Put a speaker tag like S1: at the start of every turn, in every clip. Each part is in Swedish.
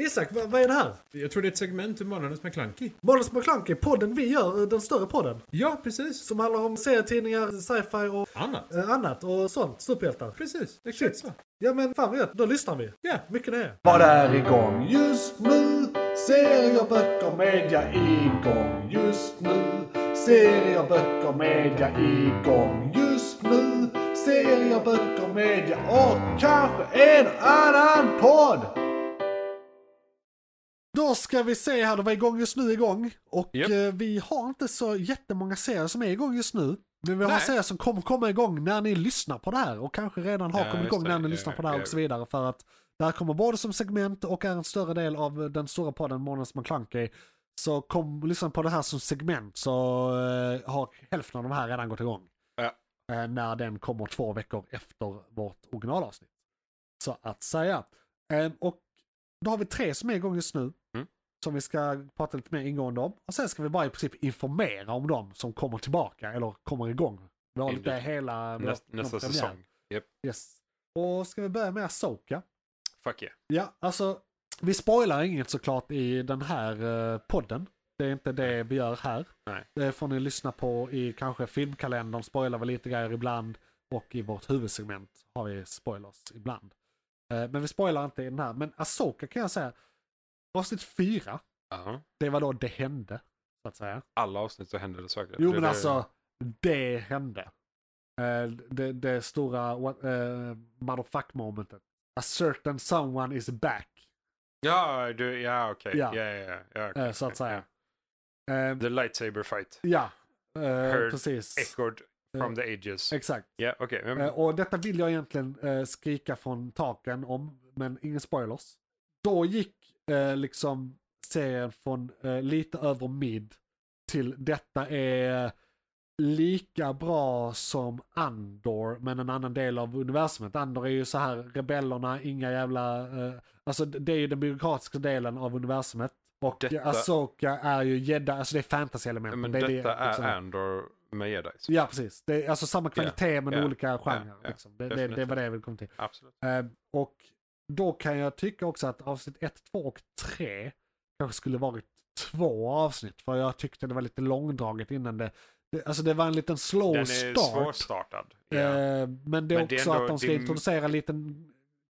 S1: Isak, vad, vad är det här?
S2: Jag tror det är ett segment ur Månadens McKlunky.
S1: Månadens McKlunky, podden vi gör, eh, den större podden.
S2: Ja, precis.
S1: Som handlar om serietidningar, sci-fi och
S2: Annat.
S1: eh, annat och sånt. Superhjältar.
S2: Precis, exakt så.
S1: Ja men fan vad gött, då lyssnar vi.
S2: Ja.
S1: Mycket det är.
S3: Vad är igång just nu? Serier, böcker, media igång just nu. Serier, böcker, media igång just nu. Serier, böcker, media och kanske en annan podd.
S1: Då ska vi se här, de var igång just nu igång. Och
S2: Japp.
S1: eh, vi har inte så jättemånga serier som är igång just nu. Men vi har
S2: Nej.
S1: serier som kommer komma igång när ni lyssnar på det här. Och kanske redan har
S2: Ja,
S1: kommit
S2: just
S1: igång
S2: det.
S1: när ni
S2: Ja,
S1: lyssnar på det här
S2: ja.
S1: och så vidare. För att det här kommer både som segment och är en större del av eh, den stora podden Månadens McKlunky. Så kom och lyssna på det här som segment så eh, har hälften av de här redan gått igång.
S2: Ja.
S1: Eh, när den kommer två veckor efter vårt originalavsnitt. Så att säga. Eh, och då har vi tre som är igång just nu.
S2: Mm.
S1: Som vi ska prata lite mer ingående om. Och sen ska vi bara i princip informera om dem som kommer tillbaka eller kommer igång. Vi har lite
S2: Indeed.
S1: hela vår-
S2: Näst,
S1: vår
S2: nästa
S1: premiär.
S2: säsong. Yep.
S1: Yes. Och ska vi börja med Asoka?
S2: Fuck yeah.
S1: Ja, alltså vi spoilar inget såklart i den här eh, podden. Det är inte det vi gör här.
S2: Nej.
S1: Det får ni lyssna på i kanske filmkalendern, spoilar vi lite grejer ibland. Och i vårt huvudsegment har vi spoilers ibland. Eh, men vi spoilar inte i den här. Men Asoka kan jag säga, avsnitt fyra,
S2: Aha.
S1: det var då det hände. Så att säga.
S2: Alla avsnitt så händer det saker.
S1: Jo
S2: Det-
S1: men
S2: det-
S1: alltså, det hände. Eh, Det, det stora what- eh, motherfuck momentet. A certain someone is back.
S2: Ja, du, ja okej.
S1: Ja.
S2: Ja, ja, ja. ja okej,
S1: Eh, så att
S2: okej,
S1: säga.
S2: ja.
S1: Eh,
S2: The lightsaber fight.
S1: Ja, eh,
S2: Heard
S1: precis.
S2: Echoed
S1: Eh,
S2: from the ages.
S1: Exakt.
S2: Ja, okej. men-
S1: Eh, och detta vill jag egentligen eh, skrika från taken om, men ingen spoilers. Då gick eh, liksom serien från eh, lite över mid till detta är lika bra som Andor, men en annan del av universumet. Andor är ju så här, rebellerna, inga jävla... Eh, alltså det det är ju den byråkratiska delen av universumet. Och
S2: Detta-
S1: Asoka är ju gädda, alltså det är fantasy-elementen.
S2: Men
S1: det
S2: detta
S1: det,
S2: är
S1: liksom.
S2: Andor med jedis.
S1: Ja, precis. Det är alltså samma kvalitet men
S2: ja,
S1: olika genrer.
S2: ja,
S1: liksom. det, det,
S2: definitivt.
S1: det var det jag ville komma till.
S2: Absolut.
S1: Eh, och då kan jag tycka också att avsnitt 1, 2 och 3 kanske skulle varit två avsnitt. För jag tyckte det var lite långdraget innan det. det alltså det var en liten slow
S2: Den är
S1: start.
S2: svårstartad. Ja.
S1: Eh, men det är
S2: Men det är
S1: också
S2: ändå-
S1: att de ska
S2: det är-
S1: introducera lite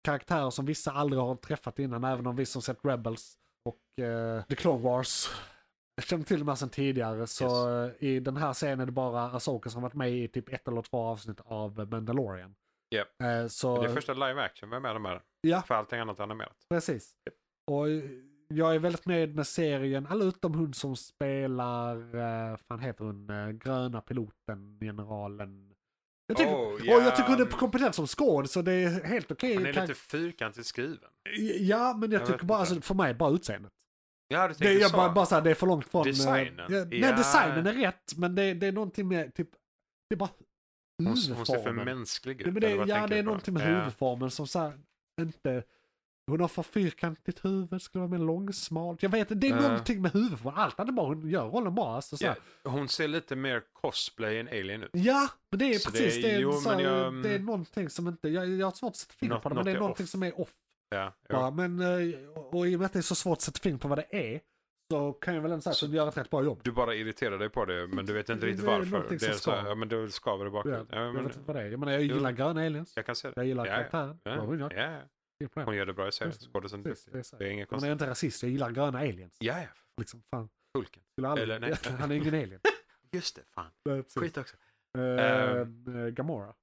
S1: karaktärer som vissa aldrig har träffat innan, även om vi som sett Rebels och eh, The Clone Wars känner till dem här sedan tidigare. Så eh, i den här scenen är det bara Asoka som varit med i typ ett eller två avsnitt av Mandalorian.
S2: Japp.
S1: Eh, så,
S2: Det är första live action, vem är de här?
S1: Ja.
S2: För allting annat är animerat.
S1: Precis. Och eh, jag är väldigt nöjd med serien, alla utom hon som spelar, eh, fan heter hon, eh, gröna piloten, generalen. Jag tycker,
S2: Oh,
S1: och jag tycker hon är
S2: ja.
S1: kompetent som skåd så det är helt okej.
S2: Han är
S1: Kan-
S2: lite fyrkantigt skriven.
S1: Ja, men jag,
S2: Jag
S1: tycker
S2: vet
S1: bara,
S2: inte.
S1: alltså, för mig, bara utseendet.
S2: Ja, du
S1: Det,
S2: tänker
S1: jag
S2: så.
S1: bara, bara såhär, det är för långt från... eh,
S2: Designen?
S1: Ja,
S2: Ja.
S1: Nej, designen är rätt, men det, det är någonting med typ... Det är bara
S2: hon, hon ser för
S1: huvudformen.
S2: mänsklig ut.
S1: Nej, men det,
S2: eller vad
S1: ja,
S2: tänker
S1: det är
S2: du på?
S1: någonting med
S2: Ja.
S1: huvudformen som så här, inte... Hon har för fyrkantigt huvud, skulle vara mer långsmalt. Jag vet inte, det är
S2: Ja.
S1: någonting med huvudformen. Allt annat bara hon gör rollen bra. Alltså, så här.
S2: Ja, hon ser lite mer cosplay än alien ut.
S1: Ja, men det är
S2: Så det
S1: precis,
S2: är-
S1: det är,
S2: jo,
S1: så här,
S2: men jag- mm.
S1: det är någonting som inte... Jag, jag har svårt att sätta fingret
S2: Något-
S1: på det, men det är
S2: något är
S1: någonting
S2: off.
S1: som är off.
S2: Ja,
S1: Bara.
S2: ja.
S1: Men, eh, och, och i och med att det är så svårt att sätta fingret på vad det är, så kan jag väl ändå säga att hon gör ett rätt bra jobb.
S2: Du bara irriterar dig på det, men du vet inte
S1: Det
S2: riktigt
S1: är
S2: varför.
S1: någonting
S2: Det är
S1: som
S2: så här,
S1: skaver.
S2: ja, men då skaver det
S1: Ja,
S2: bakåt. Ja,
S1: jag
S2: men,
S1: vet inte vad det är. Jag menar, jag gillar gröna aliens.
S2: jag kan se det.
S1: Jag gillar
S2: Ja, ja.
S1: karaktären.
S2: Ja.
S1: Ja, hon gör
S2: Ja, ja.
S1: inget problem.
S2: hon gör det bra i serien.
S1: Precis,
S2: Skådisen
S1: precis, det är
S2: det
S1: så.
S2: är inget
S1: Men jag är
S2: konstigt.
S1: inte rasist, jag gillar gröna aliens.
S2: Ja, ja.
S1: Liksom, fan,
S2: Hulken.
S1: skulle aldrig...
S2: Eller nej.
S1: Han är ingen alien.
S2: Just det, fan.
S1: Nej, precis.
S2: Skit också.
S1: Eh, eh, Gamora.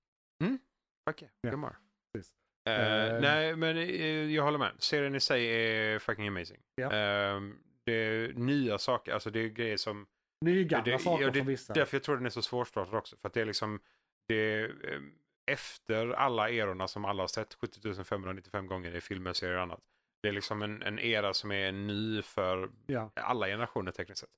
S2: Fuck yeah,
S1: Ja,
S2: Gamora.
S1: precis.
S2: Eh,
S1: Eh,
S2: nej, men eh, jag håller med. Serien i sig är fucking amazing.
S1: Ja.
S2: Eh, det är nya saker, alltså det är grejer som...
S1: Nygamla
S2: det,
S1: saker
S2: ja, det,
S1: för vissa.
S2: Därför jag tror den är så svårstartad också. För att det är liksom, det är, eh, efter alla erorna som alla har sett 70 595 gånger i filmer, serier och annat. Det är liksom en, en era som är ny för
S1: Ja.
S2: alla generationer tekniskt sett.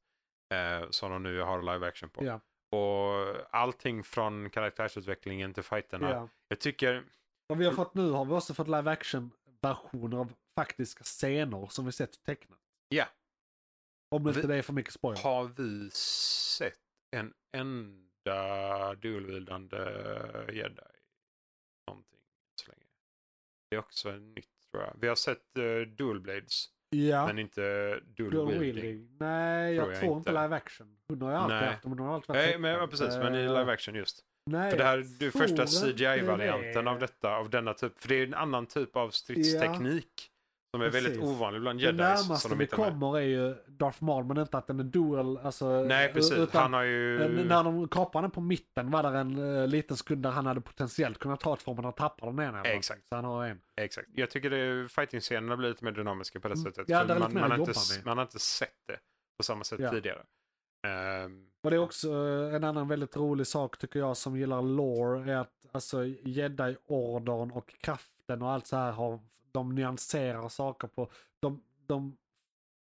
S2: Eh, som de nu har live action på.
S1: Ja.
S2: Och allting från karaktärsutvecklingen till fighterna.
S1: Ja.
S2: Jag tycker,
S1: Vad vi har fått nu har vi också fått live action-versioner av faktiska scener som vi sett tecknat.
S2: Ja.
S1: Om inte
S2: Vi-
S1: det är för mycket spoiler.
S2: Har vi sett en enda dualvildande jedi? Någonting så länge. Det är också nytt tror jag. Vi har sett uh, dualblades.
S1: Ja.
S2: eh, Men inte dual,
S1: Dual
S2: wielding.
S1: wielding. Nej, jag
S2: Tror jag
S1: tror inte
S2: inte.
S1: live action. Hon har ju alltid
S2: Nej.
S1: haft dem, men hon har alltid varit
S2: Nej, men ja,
S1: tecknad.
S2: precis. Men i
S1: Eh,
S2: live action just.
S1: Nej,
S2: För det här
S1: jag
S2: är ju
S1: tror
S2: första
S1: inte
S2: CGI-varianten
S1: det.
S2: av detta, av denna typ. För det är en annan typ av stridsteknik. Som är väldigt
S1: Precis.
S2: ovanlig bland
S1: Det
S2: jedis.
S1: närmaste
S2: Som de
S1: vi
S2: inte har med.
S1: kommer är ju Darth Maul, men inte att den är dual. Alltså,
S2: Nej, precis.
S1: Utan
S2: Han har ju...
S1: eh, när de kapade den på mitten var det en eh, liten sekund där han hade potentiellt kunnat ta två, men han tappade den ena.
S2: Exakt.
S1: Så han har en.
S2: Exakt. Jag tycker det- fighting-scenerna blir lite mer dynamiska på det
S1: Mm.
S2: sättet.
S1: Ja,
S2: för
S1: där är
S2: man,
S1: lite mer
S2: man,
S1: att
S2: har inte,
S1: jobba
S2: s-
S1: med.
S2: man har inte sett det på samma sätt
S1: Ja.
S2: tidigare. Ehm,
S1: Och det är också eh, en annan väldigt rolig sak tycker jag som gillar lore är att alltså jedi-ordern och kraften och allt så här har, de nyanserar saker på, de, de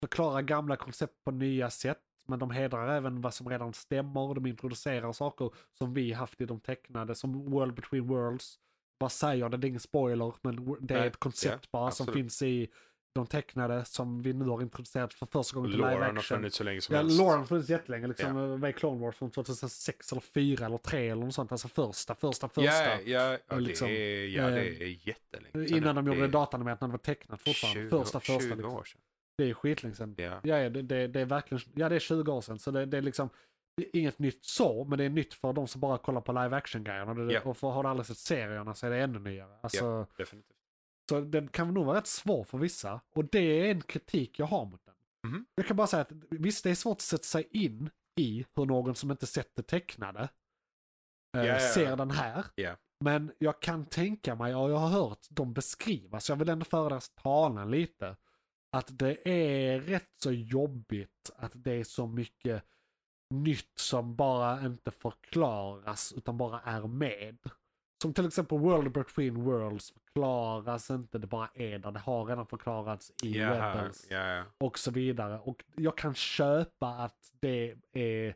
S1: förklarar gamla koncept på nya sätt. Men de hedrar även vad som redan stämmer och de introducerar saker som vi haft i de tecknade som World Between Worlds. Vad säger det? Det är ingen spoiler men det är
S2: Nej,
S1: ett koncept
S2: ja,
S1: bara som
S2: absolut.
S1: finns i de tecknade som vi nu har introducerat för första gången till live
S2: Lauren har
S1: action.
S2: funnits så länge som
S1: Ja,
S2: helst.
S1: Lauren har funnits jättelänge. Liksom, Med Clone Wars från 2006 eller 4 eller 3 eller något sånt. Alltså första, första, första.
S2: Ja, ja, ja,
S1: liksom,
S2: det, är, ja det
S1: eh,
S2: är jättelänge sedan
S1: Innan de
S2: nu.
S1: gjorde det
S2: är
S1: datanimerat när det var tecknat fortfarande.
S2: 20
S1: första, första.
S2: 20
S1: Liksom.
S2: år sedan.
S1: Det är skitlänge sedan.
S2: Ja.
S1: Ja, ja, det, det, det är verkligen, ja, det är 20 år sedan. Så det, det är liksom det är inget nytt så, men det är nytt för de som bara kollar på live action-grejerna. Det-
S2: Ja.
S1: Och för, har du aldrig sett serierna så är det ännu nyare. Alltså,
S2: Definitivt.
S1: Så den kan nog vara rätt svår för vissa. Och det är en kritik jag har mot den.
S2: Mhm.
S1: Jag kan bara säga att visst, det är svårt att sätta sig in i hur någon som inte sett det tecknade eh,
S2: Ja, ja, ja.
S1: ser den här.
S2: Ja.
S1: Men jag kan tänka mig, och jag har hört dem beskrivas, jag vill ändå föra deras talan lite. Att det är rätt så jobbigt att det är så mycket nytt som bara inte förklaras utan bara är med. Som till exempel World Between Worlds förklaras inte, det bara är där. Det har redan förklarats i
S2: Ja, här,
S1: Rebels
S2: ja, ja.
S1: och så vidare. Och jag kan köpa att det är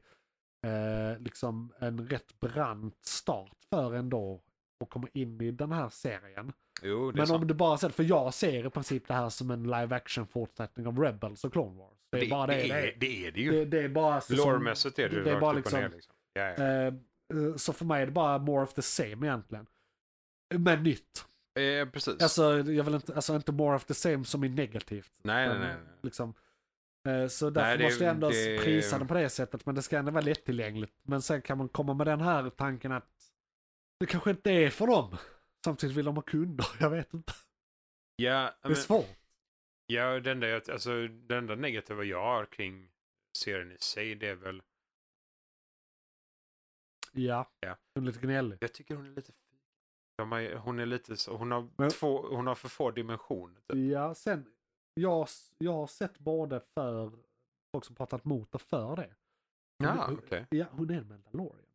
S1: eh, liksom en rätt brant start för en då och komma in i den här serien.
S2: Jo, det är
S1: Men
S2: sant.
S1: om du bara ser för jag ser i princip det här som en live action fortsättning av Rebels och Clone Wars. Det är bara det det är.
S2: det är det
S1: Det,
S2: ju.
S1: det är bara... så som-
S2: Lore-mässigt är det ju
S1: det är
S2: rakt
S1: bara
S2: upp och ner.
S1: liksom-
S2: Liksom. Ja, ja.
S1: Eh, eh, så för mig är det bara more of the same egentligen. Men nytt.
S2: Eh, precis.
S1: Alltså, jag vill inte, alltså inte more of the same som är negativt.
S2: nej, nej,
S1: Men,
S2: nej. nej.
S1: Liksom. Eh, Så därför
S2: Nej, det-
S1: måste jag ändå
S2: det-
S1: prisa den på det sättet. Men det ska ändå vara lättillgängligt. Men sen kan man komma med den här tanken att det kanske inte är för dem. Samtidigt vill de ha kunder, jag vet inte.
S2: Ja,
S1: det
S2: men,
S1: är svårt.
S2: ja det, enda, jag- alltså, det enda negativa jag har kring serien i sig det är väl
S1: Ja,
S2: Ja.
S1: hon är lite gnällig.
S2: Jag tycker hon är lite fy- de har, hon är lite så, hon har,
S1: Men-
S2: två, hon har för få dimensioner. Typ.
S1: Ja, sen, jag, jag har sett både för folk som pratat mot och för det.
S2: Ja,
S1: hon,
S2: Ah, okej.
S1: ja, hon är en mandalorian.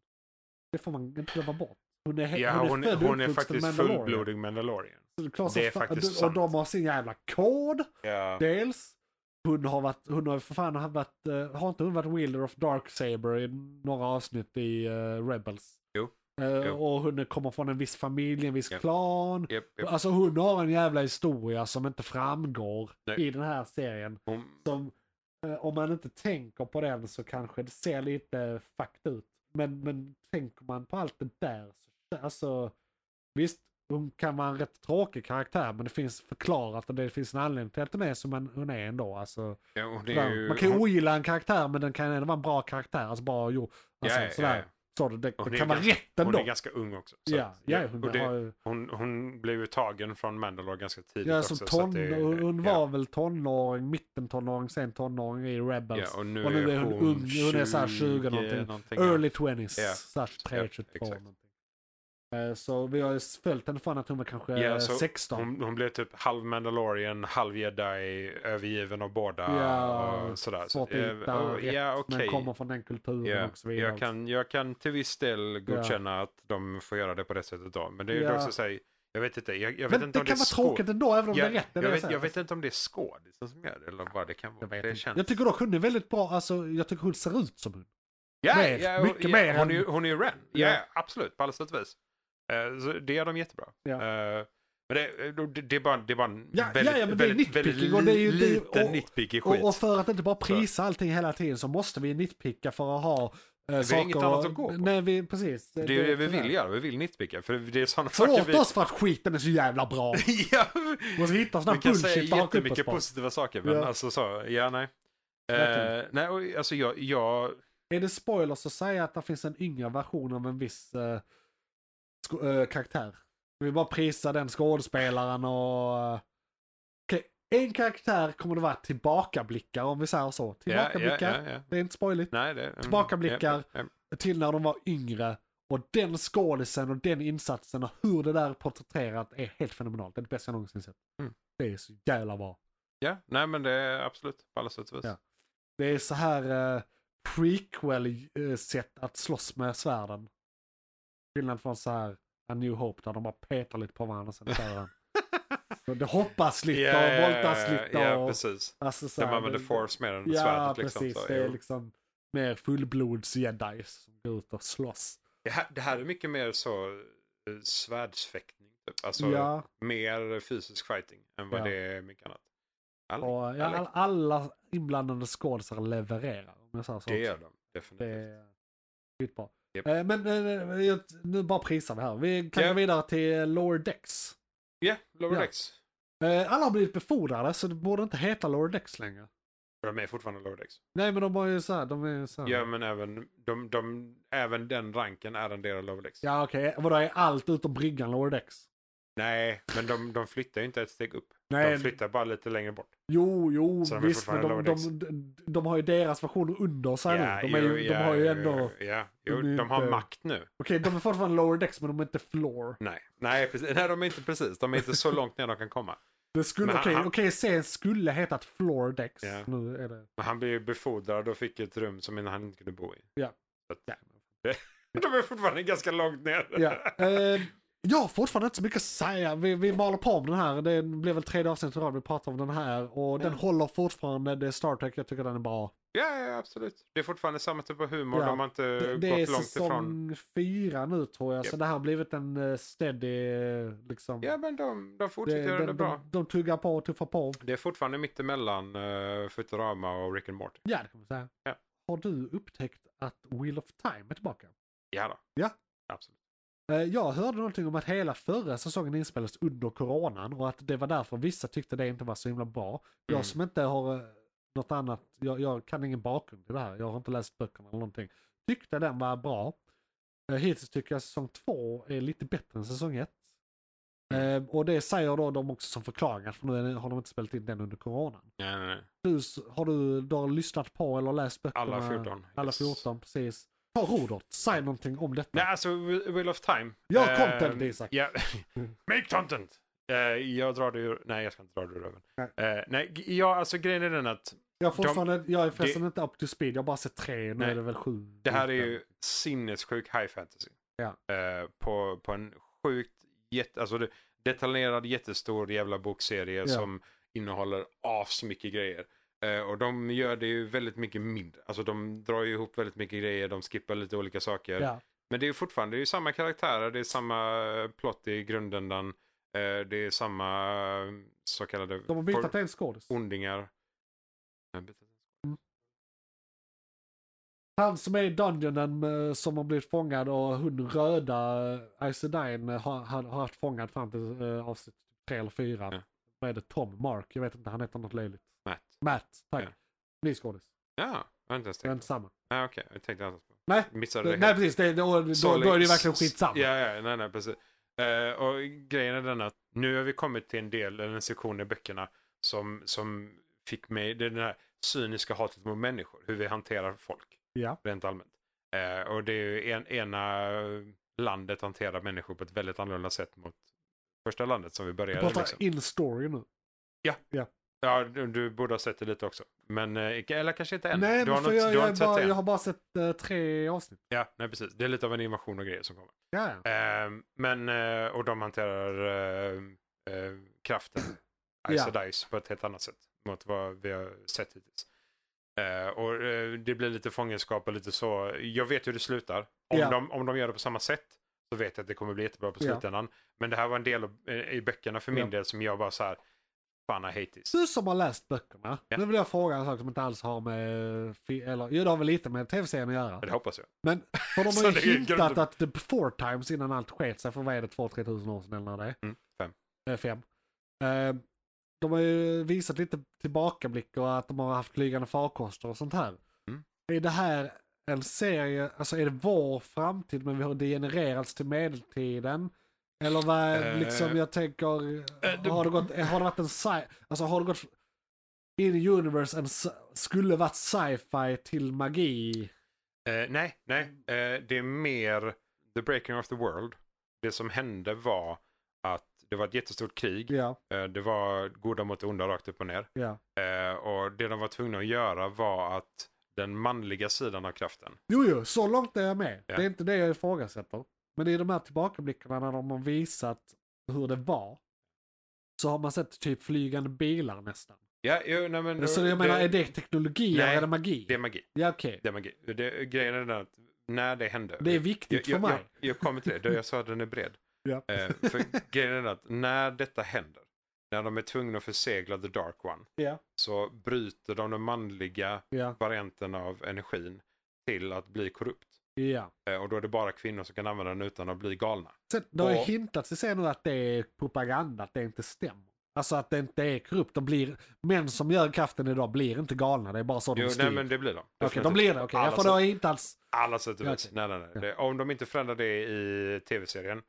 S1: Det får man inte glömma bort. Hon är, he-
S2: Ja, hon,
S1: född och
S2: hon är
S1: uppvuxen
S2: faktiskt
S1: mandalorian.
S2: fullblodig mandalorian.
S1: Så det är, klart
S2: Det är
S1: som fan-
S2: faktiskt
S1: Och de
S2: sant.
S1: har sin jävla kod.
S2: Ja.
S1: Dels, hon har varit, hon har ju för fan har varit, eh, har inte hon varit wielder of dark saber i några avsnitt i eh, Rebels?
S2: Jo,
S1: Eh,
S2: jo.
S1: Och hon kommer från en viss familj, en viss
S2: Ja.
S1: klan.
S2: Japp, japp.
S1: Alltså hon har en jävla historia som inte framgår
S2: Nej.
S1: i den här serien.
S2: Hon,
S1: Som, eh, om man inte tänker på den så kanske det ser lite fucked ut. Men, men tänker man på allt det där, så, alltså visst, hon kan vara en rätt tråkig karaktär men det finns förklarat och det finns en anledning till att hon är som en, hon är ändå. Alltså,
S2: ja, hon är
S1: sådär.
S2: ju,
S1: man kan ju
S2: hon,
S1: ogilla en karaktär men den kan ändå vara en bra karaktär. Alltså bra gjord. Alltså,
S2: Ja, ja,
S1: sådär.
S2: ja.
S1: Så det, det
S2: Hon
S1: det
S2: är
S1: kan vara
S2: ganska-
S1: rätt
S2: hon
S1: ändå.
S2: är ganska ung också. så
S1: ja,
S2: att-
S1: ja, hon
S2: och det,
S1: har ju...
S2: hon, hon blev ju tagen från Mandalore ganska tidigt
S1: Ja,
S2: också.
S1: som
S2: så att
S1: ton,
S2: det-
S1: hon hon var
S2: ja.
S1: väl tonåring, mitten tonåring, sen tonåring i Rebels.
S2: Ja, och nu,
S1: och nu
S2: är hon,
S1: ung, hon är såhär 20 någonting.
S2: någonting
S1: Early 20s,
S2: Ja.
S1: såhär 23,
S2: Ja,
S1: 22
S2: exakt.
S1: någonting. Eh, Så vi har ju följt henne från att hon var kanske
S2: Ja,
S1: eh,
S2: så
S1: 16.
S2: Hon, hon blev typ halv Mandalorian, halv jedi, övergiven av båda
S1: Ja,
S2: och sådär. Så,
S1: svårt att
S2: eh,
S1: hitta
S2: och-
S1: rätt,
S2: ja, okej.
S1: Men kommer från den kulturen
S2: Ja,
S1: och så vidare.
S2: jag, kan, jag kan till viss del godkänna att de får göra det på det sättet då. Men det är ju
S1: Ja.
S2: också så här, jag vet inte, jag, jag vet
S1: men
S2: inte
S1: det
S2: om det är
S1: kan vara
S2: skå-
S1: tråkigt ändå, även om det
S2: jag,
S1: är rätt. det är
S2: jag,
S1: det
S2: vet,
S1: säger.
S2: jag vet inte om det är skådisen som gör det eller vad det kan vara.
S1: Jag vet
S2: det
S1: inte.
S2: känns...
S1: Jag tycker dock hon är väldigt bra, alltså jag tycker hon ser ut som hon.
S2: Ja,
S1: mer,
S2: ja, och-
S1: mycket
S2: ja,
S1: mer
S2: Hon
S1: än-
S2: är ju hon är ju Ren. Ja,
S1: Ja.
S2: absolut. På alla sätt och vis. Eh, så det gör de jättebra.
S1: Ja.
S2: Eh, men det, det, det, är bara, det är bara en
S1: Ja,
S2: väldigt,
S1: ja, ja, men det är
S2: väldigt, väldigt
S1: nitpicking och det är ju- det är ju-
S2: liten
S1: och-
S2: nitpicky skit.
S1: Och, och för att inte bara prisa allting hela tiden så måste vi nitpicka för att ha eh,
S2: har
S1: saker
S2: inget annat
S1: och-
S2: att gå på.
S1: Nej, vi, precis.
S2: Det är ju det vi vill göra, vi vill nitpicka. För det är sådana saker
S1: Förlåt
S2: vi...
S1: oss för att skiten är så jävla bra.
S2: ja,
S1: Och så hittar sådana
S2: vi kan säga
S1: bullshit och haka upp oss
S2: jättemycket
S1: på.
S2: positiva saker, men
S1: Ja.
S2: alltså så, ja nej. Eh,
S1: Verkligen.
S2: nej, och, alltså jag, jag,
S1: Är det spoilers att säga att det finns en yngre version av en viss eh, sko- eh, karaktär? Vi vill bara prisa den skådespelaren och... eh, okej, En karaktär kommer det vara tillbakablickar om vi säger så.
S2: ja, ja,
S1: Tillbakablickar,
S2: ja, ja.
S1: det är inte spoiligt.
S2: Nej, det... mm,
S1: Tillbakablickar.
S2: ja, ja.
S1: Till när de var yngre. Och den skådisen och den insatsen och hur det där är porträtterat är helt fenomenalt. Det är det bästa jag någonsin sett.
S2: Mm.
S1: Det är så jävla bra.
S2: Ja, nej men det är absolut på alla sätt och vis.
S1: Ja. Det är så här eh, prequel-sätt att slåss med svärden. Skillnad från så här A New Hope där de bara petar lite på varandra och sen kör den. Så Det hoppas lite
S2: Ja, ja,
S1: och voltas
S2: ja,
S1: lite.
S2: Ja,
S1: och,
S2: precis.
S1: alltså så
S2: Där
S1: här,
S2: man använder
S1: det-
S2: force mer än
S1: Ja,
S2: svärdet liksom.
S1: precis.
S2: Så,
S1: det är
S2: jo.
S1: liksom mer fullblods jedi som går ut och slåss.
S2: det, här, det här är mycket mer så eh, svärdsfäktning. Typ. Alltså
S1: ja,
S2: mer fysisk fighting än vad
S1: Ja.
S2: det är mycket annat. Alla,
S1: och ja, all- alla inblandade skådisar levererar. Om jag säger så.
S2: det gör de definitivt.
S1: Det är skitbra.
S2: Japp.
S1: Eh, Men eh, jag- nu bara prisar vi här. Vi kan
S2: Ja.
S1: gå vidare till Lower Decks.
S2: Ja, Lower
S1: Ja.
S2: Decks.
S1: Eh, Alla har blivit befordrade så det borde inte heta Lower Decks längre.
S2: De är fortfarande Lower Decks.
S1: Nej men de var ju såhär, de är ju såhär.
S2: Ja, men även, de, de, även den ranken är en del av Lower Decks.
S1: Ja okej, vadå är allt utom bryggan Lower Decks?
S2: Nej, men de, de flyttar ju inte ett steg upp.
S1: Nej.
S2: De flyttar bara lite längre bort.
S1: Jo, jo,
S2: Så de är
S1: visst men de,
S2: fortfarande
S1: de,
S2: Lower
S1: de, de har ju deras versioner under sig nu. De, är ju, de har ju ändå, okej
S2: Ja,
S1: de är
S2: jo,
S1: ju
S2: de har
S1: inte-
S2: makt nu.
S1: de är fortfarande Lower Decks men de är inte Floor.
S2: Nej, nej, precis. nej de är inte precis. De är inte så långt ner de kan komma.
S1: Det skulle,
S2: Men han-
S1: okej,
S2: han-
S1: okej, serien skulle hetat Floor Decks.
S2: Ja.
S1: Nu är det,
S2: Men han blev ju befordrad och fick ett rum som han inte kunde bo i.
S1: Ja.
S2: Så att, De är fortfarande ganska långt ner.
S1: ja. Eh, jag har fortfarande inte så mycket att säga. Vi, vi maler på om den här. Det blev väl tredje avsnittet i rad vi pratar om den här. Och den
S2: Ja.
S1: håller fortfarande. Det är Star Trek. Jag tycker den är bra.
S2: Ja, ja, absolut. Det är fortfarande samma typ av humor.
S1: Ja.
S2: De har inte
S1: Det, det är
S2: gått långt ifrån.
S1: säsong fyra nu tror jag. Så
S2: Japp.
S1: det här har blivit en eh, steady... eh, Liksom,
S2: Ja, men de, de
S1: det,
S2: fortsätter göra
S1: de,
S2: det bra.
S1: De, de tuggar på och tuffar på.
S2: Det är fortfarande mittemellan uh, Futurama och Rick and Morty.
S1: Ja, det kan man säga.
S2: Ja.
S1: Har du upptäckt att Wheel of Time är tillbaka?
S2: Ja då.
S1: Ja.
S2: Absolut.
S1: Eh, Jag hörde någonting om att hela förra säsongen inspelades under coronan och att det var därför vissa tyckte det inte var så himla bra.
S2: Mm.
S1: Jag som inte har eh, något annat, jag, jag kan ingen bakgrund i det här, jag har inte läst böckerna eller någonting. Tyckte den var bra. Eh, Hittills tycker jag säsong två är lite bättre än säsong ett.
S2: Mm.
S1: Eh, Och det säger då de också som förklaring, att för nu är det- har de inte spelat in den under coronan.
S2: Nej, nej, nej.
S1: Du, s- har du, du har lyssnat på eller läst böckerna?
S2: Alla 14.
S1: eh, Alla
S2: Yes.
S1: 14, precis. Ta Rodert, säg någonting om detta.
S2: Nej, alltså Whe- Wheel of Time.
S1: Ja,
S2: Eh,
S1: content, Isak.
S2: Ja.
S1: Mm.
S2: Make content! Eh, jag drar det ur... Nej, jag ska inte dra det ur röven. Eh, nej, g- ja, alltså grejen är den att
S1: Jag, har fortfarande, jag är förresten
S2: det-
S1: inte up to speed, jag har bara sett tre, nu
S2: Nej.
S1: är det väl sju.
S2: det här är ju sinnessjuk high fantasy.
S1: Ja.
S2: Eh, på, på en sjukt jätte... Alltså det, detaljerad jättestor jävla bokserie som innehåller asmycket grejer. Eh, och de gör det ju väldigt mycket mindre. Alltså de drar ju ihop väldigt mycket grejer, de skippar lite olika saker.
S1: Ja.
S2: Men det är ju fortfarande det är ju samma karaktärer, det är samma eh, plott i grundändan. eh, Det är samma eh, så kallade
S1: De har
S2: for-
S1: bytt en skådis.
S2: ondingar. Ja, bytt-
S1: Han som är i dungeonen eh, som har blivit fångad och hon röda eh, Aes Sedine, eh, har, har har haft fångad fram till eh, avsnitt tre eller fyra.
S2: Ja.
S1: Vad är det? Tom? Mark? Jag vet inte, han heter något löjligt.
S2: Matt.
S1: Matt, tack.
S2: Ja.
S1: Ny skådis.
S2: Ja, jag har inte ens
S1: Det är
S2: tänkt.
S1: inte samma.
S2: Nej, okej. Jag tänkte annars på.
S1: Nej,
S2: Missade det
S1: Nej
S2: helt.
S1: precis, det, då, då,
S2: Så
S1: då är det ju
S2: länge-
S1: verkligen skitsamma.
S2: Ja, ja, nej, nej, precis. Eh, och grejen är den att nu har vi kommit till en del, eller en sektion i böckerna som, som fick mig, det är den här cyniska hatet mot människor, hur vi hanterar folk.
S1: Ja.
S2: Rent allmänt. Eh, och det är ju en, ena landet hanterar människor på ett väldigt annorlunda sätt mot första landet som vi
S1: Vi
S2: började.
S1: pratar
S2: liksom.
S1: in story nu.
S2: Ja, du, du borde ha sett det lite också. Men, eh, eller kanske inte än.
S1: Nej,
S2: du har
S1: men för
S2: nog inte-
S1: jag,
S2: du har
S1: jag, är
S2: inte sett
S1: bara,
S2: det
S1: jag
S2: än.
S1: har bara sett eh, tre avsnitt.
S2: Ja, nej, precis. Det är lite av en invasion och grejer som kommer.
S1: Ja, ja.
S2: Eh, men, eh, och de hanterar eh, eh, kraften, Ice
S1: Ja.
S2: och Dice, på ett helt annat sätt mot vad vi har sett hittills. Eh, och eh, det blir lite fångenskap och lite så. Jag vet hur det slutar. Om,
S1: Ja.
S2: de, om de gör det på samma sätt så vet jag att det kommer bli jättebra på
S1: Ja.
S2: slutändan. Men det här var en del av, eh, i böckerna för min
S1: Ja. Mm.
S2: del som jag bara så här, Fan, I hate this.
S1: Du som har läst böckerna,
S2: Ja.
S1: nu vill jag fråga en sak som inte alls har med, fi- eller jo det har väl lite med tv-serien att göra.
S2: Ja, Det hoppas jag.
S1: Men för de
S2: Så
S1: har
S2: det är
S1: ju
S2: ju
S1: hintat
S2: grunden.
S1: att the four times innan allt sket sig för vad är det, 2-3 tusen år sedan eller när det är?
S2: Mm, fem.
S1: Eh, fem. Eh, de har ju visat lite tillbakablick och att de har haft flygande farkoster och sånt här.
S2: Mm.
S1: Är det här en serie, alltså är det vår framtid men vi har degenererats till medeltiden? Eller vad,
S2: Eh,
S1: liksom jag tänker,
S2: eh, det-
S1: har, det gått, har det varit en sci, alltså har det gått in i universe, en, sci- skulle varit sci-fi till magi?
S2: Eh, nej, nej. Eh, det är mer the breaking of the world. Det som hände var att det var ett jättestort krig.
S1: Ja,
S2: Eh, det var goda mot onda rakt upp och ner.
S1: ja.
S2: Eh, och det de var tvungna att göra var att den manliga sidan av kraften.
S1: Jo, jo, så långt är jag med.
S2: Ja.
S1: Det är inte det jag ifrågasätter. Men i de här tillbakablickarna när de har visat hur det var. Så har man sett typ flygande bilar nästan.
S2: Ja, jo, nej, men,
S1: så jag menar, är det teknologi
S2: Nej,
S1: eller är det magi?
S2: det är magi.
S1: ja, okej.
S2: Det är magi. Det, grejen är den att när det hände.
S1: Det är viktigt
S2: jag,
S1: för
S2: jag,
S1: mig.
S2: jag, jag kommer till det. Då Jag sa att den är bred.
S1: Ja.
S2: Eh, för grejen är den att när detta händer. När de är tvungna att försegla the dark one.
S1: Ja,
S2: Så bryter de den manliga
S1: ja,
S2: varianten av energin till att bli korrupt.
S1: ja.
S2: Eh, Och då är det bara kvinnor som kan använda den utan att bli galna.
S1: Sen, det har ju
S2: Och-
S1: hintats i scenen att det är propaganda, att det inte stämmer. Alltså att det inte är korrupt. De blir, män som gör kraften idag blir inte galna, det är bara så de
S2: Jo,
S1: styr.
S2: nej men det blir de.
S1: Okej, de blir det. Okej,
S2: Alla
S1: jag får
S2: sätt-
S1: då inte alls...
S2: Alla sätt och
S1: Ja,
S2: vis.
S1: okej.
S2: Nej, nej, nej.
S1: Ja.
S2: Det, om de inte förändrar det i tv-serien,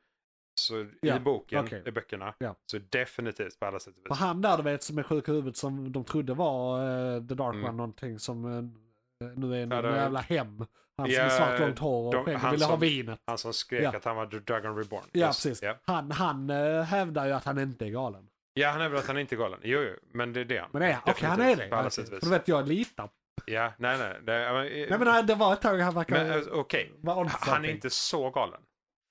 S2: så
S1: Ja,
S2: i boken,
S1: okej.
S2: i böckerna,
S1: Ja.
S2: så definitivt på alla sätt och
S1: För
S2: vis.
S1: han där du vet som är sjuk i huvudet som de trodde var eh, The Dark
S2: Mm.
S1: One någonting som eh, nu är en
S2: Ja, det-
S1: jävla hem. Han som
S2: Ja,
S1: är svart långt hår
S2: de-
S1: och skägg och
S2: han
S1: ville ha
S2: som-
S1: vinet.
S2: Han som skrek
S1: Ja.
S2: att han var The Dragon Reborn.
S1: Ja
S2: Just-
S1: precis.
S2: Ja.
S1: Han, han eh, hävdar ju att han inte är galen.
S2: ja, han är väl att han inte är galen. Jo, jo, men det är det han.
S1: Men det är han. Okej han är
S2: Definitivt,
S1: det.
S2: På alla
S1: Okej.
S2: sätt och
S1: För du
S2: vis.
S1: vet jag litar.
S2: Ja, nej, nej. Det, men, eh,
S1: Nej men det var ett tag han
S2: men,
S1: verkade
S2: eh, okej.
S1: vara on
S2: Han är
S1: something.
S2: inte så galen.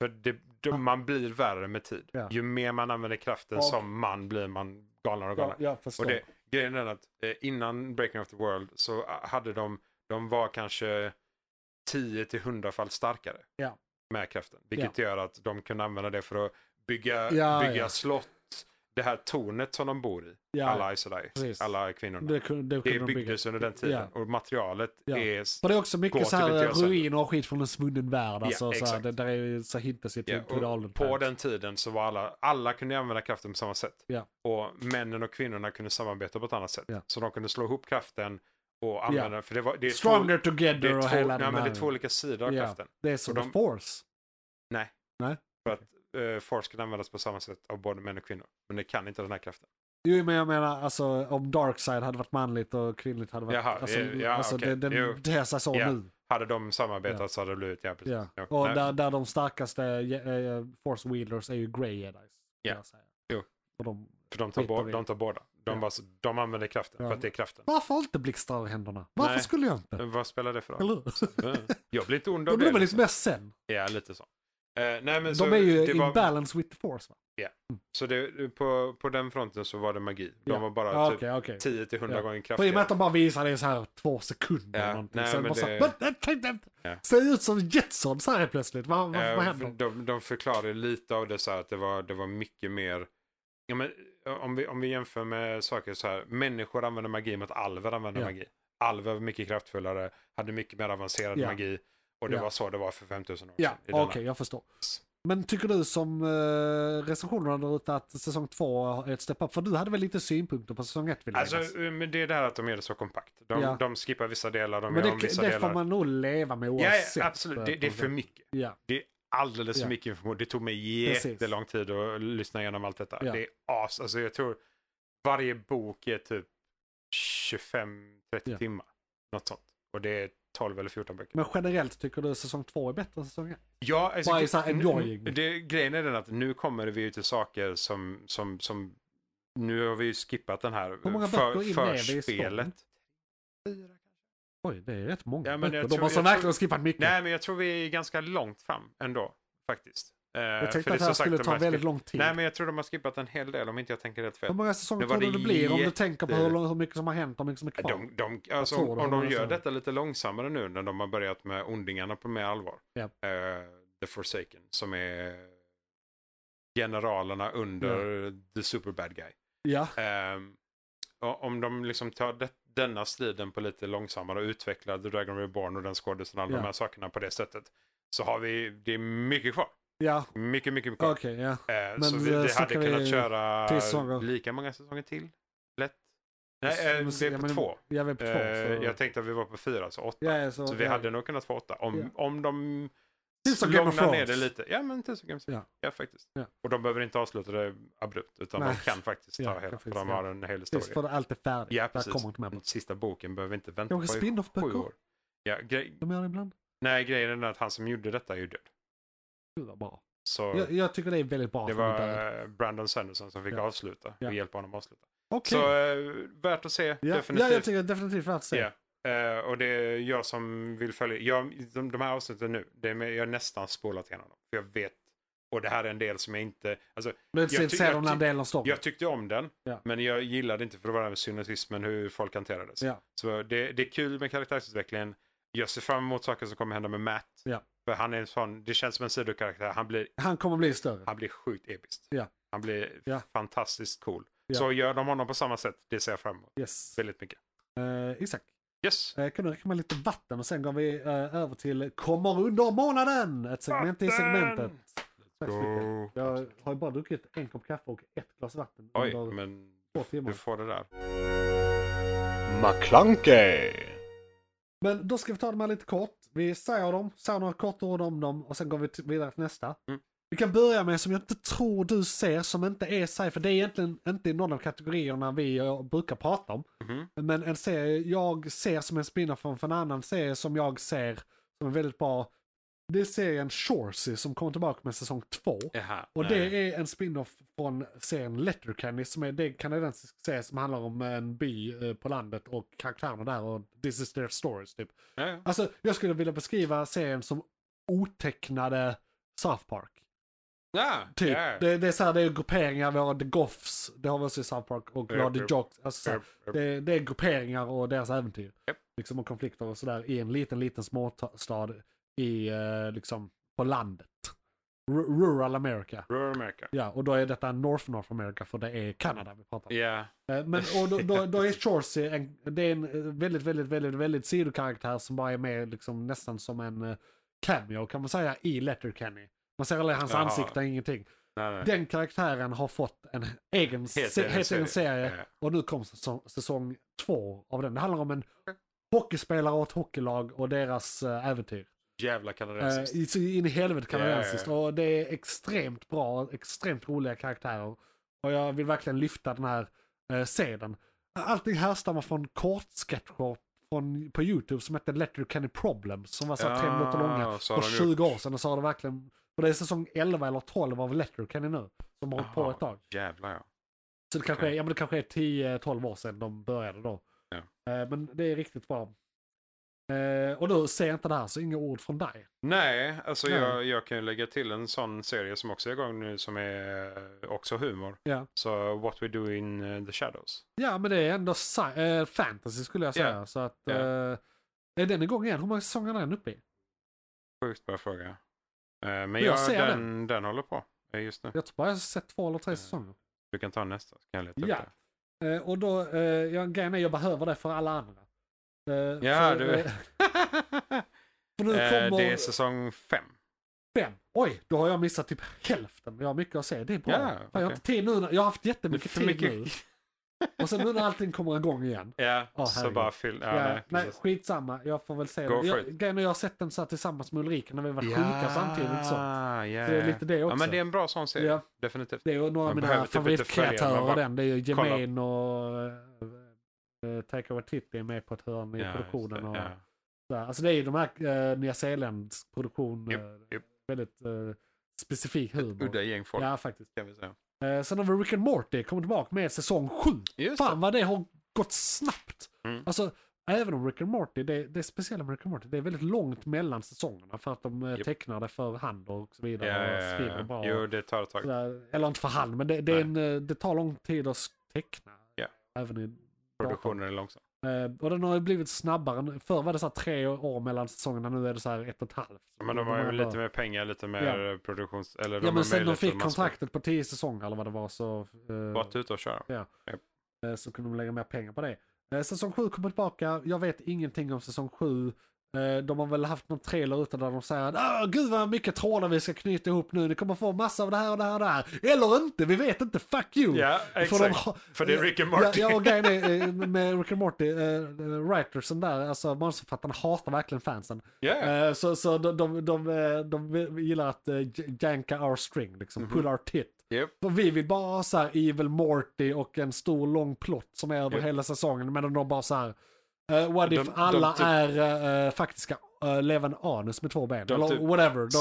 S2: För det, de,
S1: Ah.
S2: man blir värre med tid.
S1: Ja.
S2: Ju mer man använder kraften
S1: Ja.
S2: som man blir man galnare och
S1: Ja,
S2: galnare.
S1: jag förstår.
S2: och det, grejen är att eh, innan Breaking of the World så eh, hade de, de var kanske 10-100 fall starkare.
S1: Ja.
S2: Med kraften. Vilket gör att de kunde använda det för att bygga,
S1: Ja,
S2: bygga
S1: ja.
S2: slott. Det här tornet som de bor i.
S1: ja,
S2: alla Isolai.
S1: precis.
S2: Alla kvinnorna.
S1: det, kunde, det,
S2: Det,
S1: kunde de bygga.
S2: byggdes under den tiden. Och materialet
S1: Ja.
S2: är...
S1: För det är också mycket
S2: Gåtor
S1: så här
S2: vill inte jag säga.
S1: ruiner och skit från en svunnen värld.
S2: Ja,
S1: Alltså, så här,
S2: exakt.
S1: det där är ju så hintas ju
S2: Ja,
S1: till
S2: och
S1: feudalen.
S2: på den tiden så var alla, alla kunde använda kraften på samma sätt.
S1: Ja.
S2: Och männen och kvinnorna kunde samarbeta på ett annat sätt.
S1: Ja.
S2: Så de kunde slå ihop kraften och använda den. För det, var, det, är två,
S1: Stronger
S2: det,
S1: together
S2: är
S1: och
S2: två,
S1: hela
S2: nej,
S1: den
S2: men det
S1: här.
S2: är två olika sidor av
S1: Ja.
S2: kraften.
S1: Det är som
S2: Och
S1: de...
S2: de-
S1: force.
S2: Nej.
S1: Nej.
S2: För att uh, force kan användas på samma sätt av både män och kvinnor. Men det kan inte den här kraften.
S1: Jo men jag menar alltså om Darkseid hade varit manligt och kvinnligt hade varit...
S2: Jaha,
S1: alltså,
S2: eh, ja,
S1: alltså
S2: okej.
S1: det,
S2: Jo.
S1: den ter sig så
S2: Ja,
S1: nu.
S2: Hade de samarbetat så hade det blivit, ja precis.
S1: Ja.
S2: Ja,
S1: Och
S2: nej.
S1: där, där de starkaste eh, force wheelers är ju Grey Jedis.
S2: Ja. Jo.
S1: Och de...
S2: För de tar,
S1: skiter
S2: bo-
S1: vi.
S2: de tar båda. De,
S1: Ja.
S2: bara, så- de använder kraften
S1: Ja.
S2: för att det är kraften.
S1: Varför inte blixtar ur händerna? Varför
S2: Nej.
S1: skulle jag inte?
S2: Vad spelar det för
S1: Eller
S2: roll?
S1: hur?
S2: Eh, Jag blir inte ond
S1: Då
S2: av det.
S1: blir man lite
S2: liksom.
S1: mer sen.
S2: Ja, lite så. Eh, nej, men så
S1: De är ju
S2: det
S1: in
S2: var-
S1: balance with the force va?
S2: Så det, på, på den fronten så var det magi. De
S1: Ja.
S2: var bara
S1: Ja,
S2: typ
S1: Okej, okej.
S2: 10-100
S1: Ja.
S2: gånger
S1: För i och med
S2: kraftigare.
S1: att de bara visar det i så här två sekunder.
S2: Ja,
S1: eller någonting.
S2: nej,
S1: Sen
S2: men
S1: bara så här,
S2: det-
S1: "Men, eh, tänk, tänk,
S2: Ja.
S1: Ser ut som Jetson så här plötsligt. Vad, vad, vad
S2: Eh,
S1: händer?
S2: de, de förklarade lite av det så här att det var, det var mycket mer... Ja, men, eh, om, vi, om vi jämför med saker så här. Människor använder magi mot alver använder
S1: Ja.
S2: magi. Alver var mycket kraftfullare, hade mycket mer avancerad
S1: Ja.
S2: magi. Och det
S1: Ja.
S2: var så det var för 5000 år
S1: Ja,
S2: sedan. i
S1: okej,
S2: denna.
S1: jag förstår. Men tycker du som eh, recensionerna där ute att säsong två är ett step up? För du hade väl lite synpunkter på säsong ett vill jag
S2: Alltså,
S1: minnas.
S2: eh, men det är det här att de gör det så kompakt. De,
S1: Ja.
S2: de skippar vissa delar, de
S1: Men
S2: gör om
S1: det,
S2: vissa
S1: det får
S2: delar.
S1: man nog leva med
S2: ja,
S1: oavsett. eh,
S2: ja, absolut. Det, det är för mycket.
S1: Ja,
S2: Det är alldeles för
S1: Ja.
S2: mycket information. Det tog mig
S1: Precis.
S2: jättelång tid att lyssna igenom allt detta.
S1: Ja.
S2: Det är as. Alltså jag tror varje bok är typ 25-30
S1: Ja.
S2: timmar. Något sånt. Och det är 12 eller 14 böcker.
S1: men generellt tycker du säsong två är bättre än säsong ett?
S2: ja, alltså,
S1: Bara så här
S2: n-
S1: annoying.
S2: n- det, grejen är den att nu kommer vi ju till saker som, som, som nu har vi ju skippat den här eh,
S1: många böcker in är vi i
S2: förspelet.
S1: Oj, det är rätt många.
S2: Ja, men jag
S1: böcker. De
S2: tror-
S1: måste
S2: jag
S1: verkligen skippat mycket.
S2: Nej, men jag tror vi är ganska långt fram ändå. Faktiskt. Eh,
S1: jag
S2: för
S1: tänkte
S2: är
S1: att det
S2: som
S1: här
S2: sagt,
S1: skulle
S2: de
S1: ta
S2: här
S1: väldigt
S2: skri-
S1: lång tid.
S2: Nej, men jag tror de har skippat en hel del om inte jag tänker rätt fel.
S1: Hur många säsonger
S2: Nu var
S1: tror du
S2: det
S1: det blir om du tänker på hur,
S2: jätte-
S1: lång, hur mycket som har hänt och hur mycket som är kvar?
S2: De, de, alltså,
S1: tror
S2: om,
S1: det
S2: om
S1: har
S2: de
S1: varit
S2: gör
S1: så.
S2: detta lite långsammare nu när de har börjat med ondingarna på mer allvar.
S1: Ja.
S2: Eh, The Forsaken som är generalerna under The Super Bad Guy.
S1: Ja,
S2: Ehm, och om de liksom tar det, denna striden på lite långsammare och utvecklar The Dragon Reborn och den skådisen och alla
S1: Ja.
S2: de här sakerna på det sättet. Så har vi, det är mycket kvar.
S1: ja,
S2: Mycket, mycket, mycket kvar.
S1: okej, ja.
S2: Eh,
S1: Men
S2: så vi,
S1: eh,
S2: vi hade
S1: snackar vi
S2: kunnat köra
S1: till säsonger?
S2: lika många säsonger till. Lätt.
S1: Så-
S2: Nej, eh,
S1: men-
S2: vi är
S1: ja,
S2: på
S1: men-
S2: två.
S1: Ja, vi är på två.
S2: Eh,
S1: så-
S2: jag tänkte att vi var på fyra, så åtta.
S1: ja, ja, så,
S2: så vi
S1: ja.
S2: hade nog kunnat få åtta. Om,
S1: Ja.
S2: om de
S1: Tills de Game of
S2: lugnar ner det
S1: Thrones.
S2: lite. Ja, men tills de Game of Thrones.
S1: Ja.
S2: Ja. faktiskt.
S1: Ja.
S2: Och de behöver inte avsluta det abrupt, utan
S1: Nej.
S2: de kan faktiskt ta
S1: Ja, kan
S2: hela. För
S1: faktiskt,
S2: de
S1: ja.
S2: har en hel historia.
S1: Precis, för allt är färdigt.
S2: Ja,
S1: Där
S2: precis.
S1: kommer inte med
S2: Den
S1: något.
S2: sista boken behöver inte vänta
S1: Kanske
S2: på i sju
S1: spin-off-böcker?
S2: år. Ja, grej...
S1: De gör det ibland.
S2: Nej, grejen är den att han som gjorde detta är ju död.
S1: Gud vad bra.
S2: Så
S1: Jag, jag tycker det är väldigt bra.
S2: det
S1: att de är
S2: var
S1: döda.
S2: eh, Brandon Sanderson som fick
S1: Ja.
S2: avsluta.
S1: Ja.
S2: Vi hjälper honom att avsluta.
S1: Okej.
S2: Så eh, värt att se,
S1: Ja,
S2: definitivt.
S1: ja, jag tycker definitivt värt att se.
S2: Ja. Eh, och det är jag som vill följa. Jag, de, de här avsnitten nu, det är med, jag har nästan spolat igenom dem. För jag vet, och det här är en del som jag inte... Alltså,
S1: Men
S2: Jag
S1: sen
S2: ty-
S1: ser
S2: jag
S1: de den
S2: ty-
S1: delen av storyn.
S2: jag tyckte om den,
S1: Ja.
S2: men jag gillade inte för det var det här med synetismen, hur folk hanterades.
S1: Ja.
S2: Så det, det är kul med karaktärsutvecklingen. Jag ser fram emot saker som kommer hända med Matt.
S1: Ja.
S2: För han är en sån, det känns som en sidokaraktär. Han blir,
S1: Han kommer bli större.
S2: han blir sjukt episkt.
S1: Ja.
S2: Han blir
S1: Ja.
S2: fantastiskt cool.
S1: Ja.
S2: Så gör de honom på samma sätt, det ser jag fram emot
S1: Yes.
S2: väldigt mycket.
S1: Eh, Isak,
S2: Yes!
S1: eh, kan du räcka med lite vatten och sen går vi eh, över till Kommer under månaden! Ett segment i
S2: Vatten!
S1: segmentet. Tack så mycket.
S2: Go.
S1: Jag har ju bara druckit en kopp kaffe och ett glas vatten
S2: Oj,
S1: under
S2: men
S1: två timmar.
S2: du får det där.
S3: McClunkey.
S1: Men då ska vi ta dem här lite kort. Vi säger dem, säger några korta ord om dem och sen går vi t- vidare till nästa.
S2: Mm.
S1: Vi kan börja med som jag inte tror du ser som inte är sci för det är egentligen inte i någon av kategorierna vi eh, brukar prata om.
S2: Mhm.
S1: Men en serie jag ser som en spin-off från en annan serie som jag ser som är väldigt bra. Det är serien Shoresy som kommer tillbaka med säsong två.
S2: Jaha,
S1: Och
S2: nej.
S1: det är en spin-off från serien Letterkenny som är det är en kanadensisk serie som handlar om en by eh, på landet och karaktärerna där och this is their stories typ.
S2: Ja, ja.
S1: Alltså jag skulle vilja beskriva serien som otecknade South Park.
S2: Ja,
S1: Typ.
S2: ja.
S1: Det, det är så här, det är grupperingar, vi har The Goffs, det har vi också i South Park och vi har The
S2: Japp, japp.
S1: Jocks. Alltså, så här, det, det är grupperingar och deras äventyr.
S2: Japp.
S1: Liksom och konflikter och sådär i en liten, liten småstad i eh, liksom på landet. R- rural America.
S2: Rural America.
S1: Ja, och då är detta North North America för det är Kanada vi pratar om.
S2: Ja,
S1: Eh, Men, och då, då, då är Chorsey en, det är en eh, väldigt, väldigt, väldigt, väldigt sidokaraktär som bara är med liksom nästan som en eh, cameo kan man säga i Letterkenny. Man ser aldrig hans
S2: Jaha.
S1: ansikte, ingenting.
S2: nej, nej.
S1: Den karaktären har fått en egen, se,
S2: egen
S1: helt egen serie
S2: Ja.
S1: och nu kom säsong, säsong två av den. Det handlar om en hockeyspelare och ett hockeylag och deras eh, äventyr.
S2: Jävla
S1: Eh,
S2: kanadensiskt.
S1: i- så in i helvete kanadensiskt.
S2: Ja, ja,
S1: Och det är extremt bra, extremt roliga karaktärer. Och jag vill verkligen lyfta den här eh, seden. Allting härstammar från kortsketcher från, på YouTube som hette Letterkenny Problems. Som var så här tre
S2: Ja,
S1: minuter långa
S2: så
S1: för
S2: har de
S1: 20
S2: gjort.
S1: år sedan. Och så har det verkligen, och det är säsong 11 eller 12 av Letterkenny nu. Som har hållit på
S2: Jaha,
S1: ett tag.
S2: Jävlar ja.
S1: Så det kanske, är,
S2: Okej.
S1: ja, men det kanske är 10-12 år sedan de började då.
S2: Ja.
S1: Eh, men det är riktigt bra. Eh, och nu ser jag inte det här så inga ord från dig.
S2: Nej, alltså
S1: Nej.
S2: Jag, jag kan ju lägga till en sån serie som också är igång nu som är eh, också humor.
S1: Ja.
S2: Så What We Do In eh, The Shadows.
S1: Ja, men det är ändå sci- eh, fantasy skulle jag säga.
S2: Ja.
S1: Så att,
S2: Ja.
S1: eh, är den igång igen? Hur många säsonger är den uppe i?
S2: Sjukt bra fråga. Eh, Men
S1: jag
S2: jag,
S1: ser
S2: den, den. håller på eh, just nu.
S1: Jag tror bara jag har sett två eller tre
S2: Ja.
S1: säsonger.
S2: Du kan ta nästa. så Kan Eh, jag leta
S1: Ja.
S2: upp
S1: Eh, och då, eh, jag, grejen är jag behöver det för alla andra. Eh,
S2: Ja,
S1: för,
S2: du-
S1: eh,
S2: det.
S1: för nu
S2: Eh,
S1: kommer
S2: det är säsong fem.
S1: fem. Oj, då har jag missat typ hälften. Jag har mycket att se. Det är bra.
S2: Ja,
S1: Fan, Jag har
S2: okej.
S1: inte tid nu. när- Jag har haft jättemycket
S2: För
S1: tid
S2: mycket-
S1: nu. Och sen nu när allting kommer igång igen.
S2: Ja,
S1: Åh,
S2: så
S1: herregud.
S2: bara fyll... Ja,
S1: Ja,
S2: nej,
S1: nej,
S2: precis.
S1: skitsamma. Jag får väl se
S2: Go
S1: det.
S2: for
S1: Jag,
S2: it.
S1: grejen är jag har sett den så här tillsammans med Ulrika när vi var sjuka samtidigt. Så.
S2: Ja, ja,
S1: så det är
S2: ja.
S1: lite det
S2: Ja,
S1: också.
S2: men det är en bra sån serie.
S1: Ja.
S2: Definitivt.
S1: Det är ju några av
S2: Man
S1: mina
S2: behöver typ inte följa
S1: favoritkaraktärer
S2: den, man
S1: och
S2: bara
S1: den. Det är ju Jemaine och uh, Taika Waititi är med på ett hörn i
S2: Ja, just
S1: produktionen.
S2: det,
S1: Och,
S2: ja.
S1: så här. Alltså det är ju de här uh, Nya Zeelands produktion.
S2: Japp,
S1: eh,
S2: japp.
S1: Väldigt eh, specifik humor.
S2: Udda gäng folk
S1: Ja, faktiskt.
S2: kan vi säga.
S1: Eh, sen har vi Rick and Morty, kommer tillbaka med säsong 7.
S2: Just
S1: Fan vad det har gått snabbt.
S2: Mm.
S1: Alltså, även om Rick and Morty, det, det är speciella med Rick and Morty, det är väldigt långt mellan säsongerna för att de eh,
S2: Japp.
S1: tecknar det för hand och så vidare. och
S2: Ja, ja,
S1: skriver
S2: ja.
S1: bra.
S2: Jo, det tar ett tag.
S1: Sådär, eller inte för hand, men det, det, är
S2: Nej.
S1: en, eh, det tar lång tid att s- teckna.
S2: Ja.
S1: Även i datorn.
S2: Produktionen är långsam.
S1: Eh, och den har ju blivit snabbare. Förr var det så här tre år mellan säsongerna, nu är det så här ett och ett halvt.
S2: Men de har ju
S1: bara-
S2: lite mer pengar, lite mer produktions... Eller de
S1: Ja
S2: har
S1: men sen de
S2: möjlighet
S1: fick
S2: att man ska
S1: kontraktet på tio säsonger eller vad det var så,
S2: Bara
S1: eh,
S2: att ut och köra.
S1: eh, så kunde de lägga mer pengar på det. Eh, säsong 7 kommer tillbaka, jag vet ingenting om säsong 7. Eh, de har väl haft någon trailer ute där de säger att "Åh, gud vad mycket trådar vi ska knyta ihop nu, ni kommer få massa av det här och det här och det här. Eller inte, vi vet inte, fuck you!
S2: Ja,
S1: För, de
S2: exakt.
S1: har-
S2: För det är Rick and Morty.
S1: Ja, ja och grejen är eh, med Rick and Morty, eh, writersen där, alltså manusförfattarna hatar verkligen fansen.
S2: Ja,
S1: Eh, Så, så de, de, de, eh, de gillar att eh, j- janka our string, liksom,
S2: Mhm.
S1: pull our tit.
S2: Japp.
S1: För vi vill bara ha så här Evil Morty och en stor lång plott som är över
S2: Japp.
S1: hela säsongen. Medan de bara så här, eh, what
S2: De-
S1: if
S2: de
S1: alla
S2: typ-
S1: är eh, faktiska eh, levande anus med två ben?
S2: De
S1: Eller
S2: typ-
S1: whatever. De,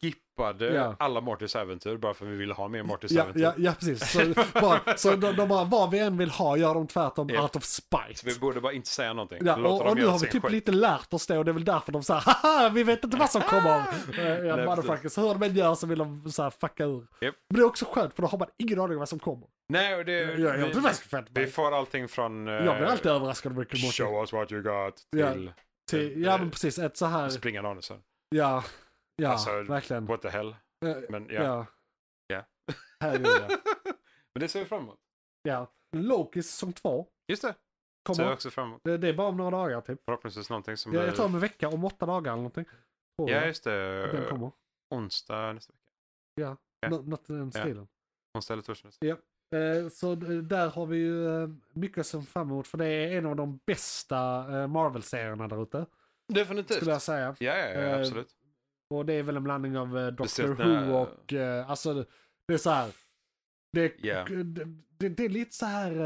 S2: Skippade
S1: Ja.
S2: alla Mortys äventyr bara för vi ville ha mer Mortys
S1: ja,
S2: äventyr.
S1: ja, ja, precis. Så, bara, så de, de bara, vad vi än vill ha gör de tvärtom
S2: Japp.
S1: out of spite.
S2: Så vi borde bara inte säga någonting.
S1: Ja,
S2: Låta
S1: och,
S2: dem
S1: och nu
S2: göra
S1: har vi
S2: sin
S1: typ
S2: skit.
S1: lite lärt oss det och det är väl därför de säger haha vi vet inte vad som kommer. Eh, ja,
S2: Nej,
S1: motherfuckers, hur de än gör så vill de så här fucka ur.
S2: Japp. Eh,
S1: Men det är också skönt för då har man ingen aning om vad som kommer.
S2: Nej, och det...
S1: Jag, jag, jag,
S2: vi,
S1: blir faktiskt fett-
S2: vi får allting från... eh,
S1: jag blir alltid överraskad av Rick and Morty.
S2: Show us what you got
S1: Ja.
S2: till
S1: Till, ja men precis, ett så här,
S2: springande anusen.
S1: ja, ja
S2: Alltså,
S1: verkligen.
S2: What the hell?
S1: Eh,
S2: Men ja.
S1: ja.
S2: Ja.
S1: Herregud ja.
S2: Men det ser vi fram emot.
S1: ja. Loki säsong två
S2: Just det, ser vi
S1: kommer.
S2: också fram emot.
S1: Det det är bara om några dagar typ.
S2: Förhoppningsvis någonting som
S1: Jag,
S2: blir...
S1: jag tror om en vecka, om åtta dagar eller någonting. Tror
S2: Ja,
S1: jag
S2: just
S1: att den
S2: det.
S1: kommer.
S2: Onsdag nästa vecka. ja.
S1: Nå- Något i den
S2: Ja.
S1: stilen.
S2: Onsdag eller torsdag. nästa
S1: Eh, Så d- där har vi ju eh, mycket att se fram emot för det är en av de bästa eh, Marvel-serierna där ute.
S2: vecka. Definitivt.
S1: Skulle jag säga.
S2: Ja, ja, ja
S1: Eh,
S2: absolut.
S1: Och det är väl en blandning av eh, Doctor
S2: Speciellt
S1: Who
S2: när-
S1: och eh, alltså det- det är så här. Det är,
S2: Ja.
S1: det, det, det är lite så här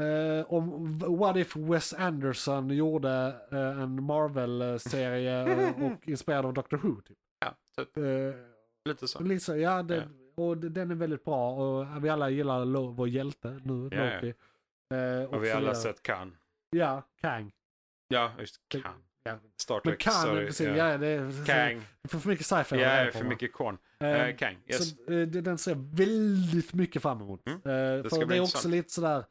S1: eh, om v- What If Wes Anderson gjorde eh, en Marvel-serie eh, och inspirerad av Doctor Who. Typ.
S2: Ja, typ.
S1: Eh,
S2: Lite så.
S1: Liksom, ja, det, och d- den är väldigt bra och vi alla gillar Lo- vår hjälte nu,
S2: Ja, ja.
S1: Loki. Eh,
S2: Och vi
S1: så
S2: alla
S1: vidare.
S2: sett kan.
S1: Ja, Kang.
S2: Ja, just
S1: Det-
S2: kan.
S1: Typ, ja.
S2: Star
S1: Men
S2: Trek,
S1: Kang,
S2: sorry.
S1: precis,
S2: ja.
S1: ja. det är
S2: Kang.
S1: för, för mycket sci-fi.
S2: Ja,
S1: att hålla på
S2: för
S1: med.
S2: mycket korn.
S1: Eh,
S2: Eh, Kang, yes.
S1: Så eh, det- den ser jag väldigt mycket fram emot.
S2: Mm,
S1: Eh, det för
S2: ska
S1: det
S2: bli
S1: är också
S2: intressant.
S1: lite sådär,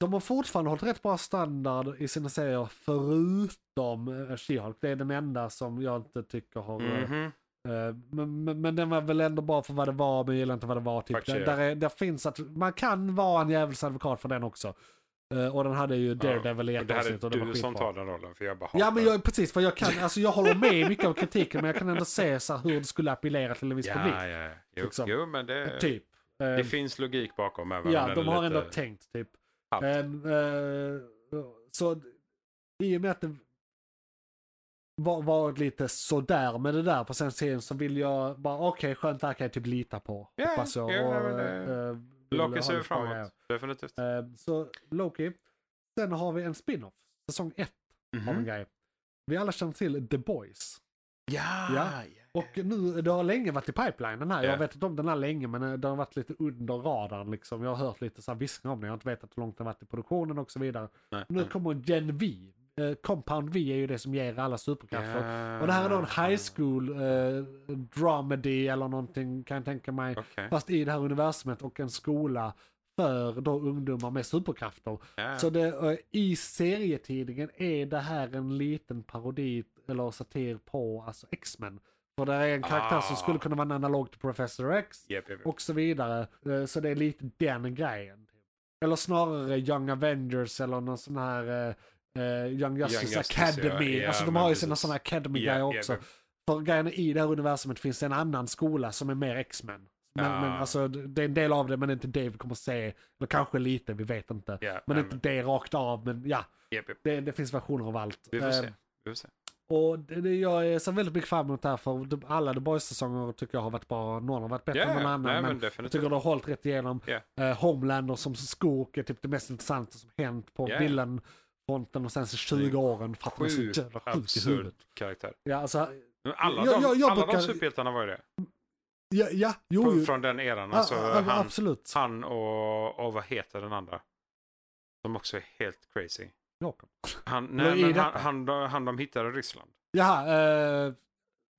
S1: de har fortfarande hållit rätt bra standard i sina serier förutom eh, She-Hulk. Det är den enda som jag inte tycker har eh,
S2: Mhm.
S1: Eh, Men, men, men den var väl ändå bra för vad det var, men jag gillar inte vad det var. Typ.
S2: Faktiskt,
S1: Där,
S2: ja.
S1: där, är, där finns att man kan vara en djävulsadvokat för den också. Eh, Och den hade ju Daredevil i
S2: Och
S1: ett
S2: det här
S1: avsnitt och det
S2: är
S1: var
S2: du som
S1: skitbra.
S2: tar den rollen, för jag bara
S1: Ja
S2: hatar
S1: men jag, precis, för jag kan, alltså jag håller med i mycket av kritiken men jag kan ändå se så här hur det skulle appellera till en viss
S2: Ja,
S1: publik.
S2: ja, ja. Jo,
S1: liksom.
S2: jo, men det,
S1: Typ. Eh,
S2: det finns logik bakom. Även om
S1: Ja,
S2: den
S1: de
S2: är
S1: har
S2: lite
S1: ändå tänkt typ.
S2: halvt.
S1: Ehm, eh, så i och med att det var, varit lite sådär med det där på sen serien så vill jag bara okej skönt det här kan jag typ lita på.
S2: Ja,
S1: hoppas jag.
S2: ja,
S1: och,
S2: nej, men det-
S1: eh, vill ha
S2: Loki ser vi
S1: lite
S2: fram
S1: bra
S2: emot. Definitivt.
S1: grejer. Ehm, så Loki. Sen har vi en spin-off. Säsong 1 av en
S2: Mhm.
S1: grej. Vi alla känner till The Boys.
S2: Ja,
S1: Ja.
S2: ja.
S1: Och nu, det har länge varit i pipeline den här. Jag
S2: Ja.
S1: har vetat om den här länge men eh, den har varit lite under radarn liksom. Jag har hört lite så här viskningar om den. Jag har inte vetat hur långt den har varit i produktionen och så vidare.
S2: Nej,
S1: Nu
S2: nej.
S1: kommer Gen V. Eh, Compound V är ju det som ger alla superkrafter. Och det här är då en high school eh, dramedy eller någonting kan jag tänka mig.
S2: Okej.
S1: Fast i det här universumet och en skola för då ungdomar med superkrafter.
S2: Ja.
S1: Så det, eh, i serietidningen är det här en liten parodi eller satir på alltså X-Men. För det är en karaktär som
S2: Ah.
S1: skulle kunna vara en analog till Professor X
S2: Japp, japp, japp.
S1: och så vidare. Eh, Så det är lite den grejen. Eller snarare Young Avengers eller någon sån här eh, eh, Young Justice
S2: Justice,
S1: Academy.
S2: ja. Ja,
S1: alltså de
S2: men
S1: har ju sina
S2: precis.
S1: sådana Academy-grejer
S2: Ja, ja,
S1: också.
S2: ja.
S1: För grejen är, i det här universumet finns det en annan skola som är mer X-Men. Men,
S2: Ah.
S1: men alltså det det är en del av det men det är inte det vi kommer se. Eller kanske lite, vi vet inte.
S2: Ja,
S1: Men
S2: nej,
S1: inte det rakt av, men ja.
S2: japp, japp.
S1: Det, det finns versioner av allt.
S2: Vi får
S1: Eh,
S2: se. Vi får se.
S1: och det, det, jag ser väldigt mycket fram emot det här för de- alla The Boys-säsonger tycker jag har varit bra. Någon har varit bättre
S2: Ja,
S1: än någon
S2: ja.
S1: annan.
S2: Nej,
S1: men
S2: men
S1: jag
S2: definitivt.
S1: tycker det har hållit rätt igenom.
S2: Ja.
S1: Eh, Homelander som skurk är typ det mest intressanta som hänt på
S2: Ja.
S1: villain-fronten de senaste 20 åren. För att man är så
S2: Sjukt
S1: jävla sjuk i
S2: absurd
S1: huvudet.
S2: karaktär.
S1: Ja, alltså,
S2: Men Alla,
S1: Jag-
S2: de,
S1: jag- jag
S2: alla
S1: brukar-
S2: de superhjältarna var ju det.
S1: ja, ja, jo,
S2: På-
S1: jo.
S2: Från den eran.
S1: Ja,
S2: Alltså,
S1: ja,
S2: han,
S1: absolut.
S2: han och, och vad heter den andra? Som också är helt crazy.
S1: Jakob.
S2: Han,
S1: Vad är
S2: nej, men han,
S1: detta?
S2: han, de- han de hittade i Ryssland.
S1: Jaha, eh,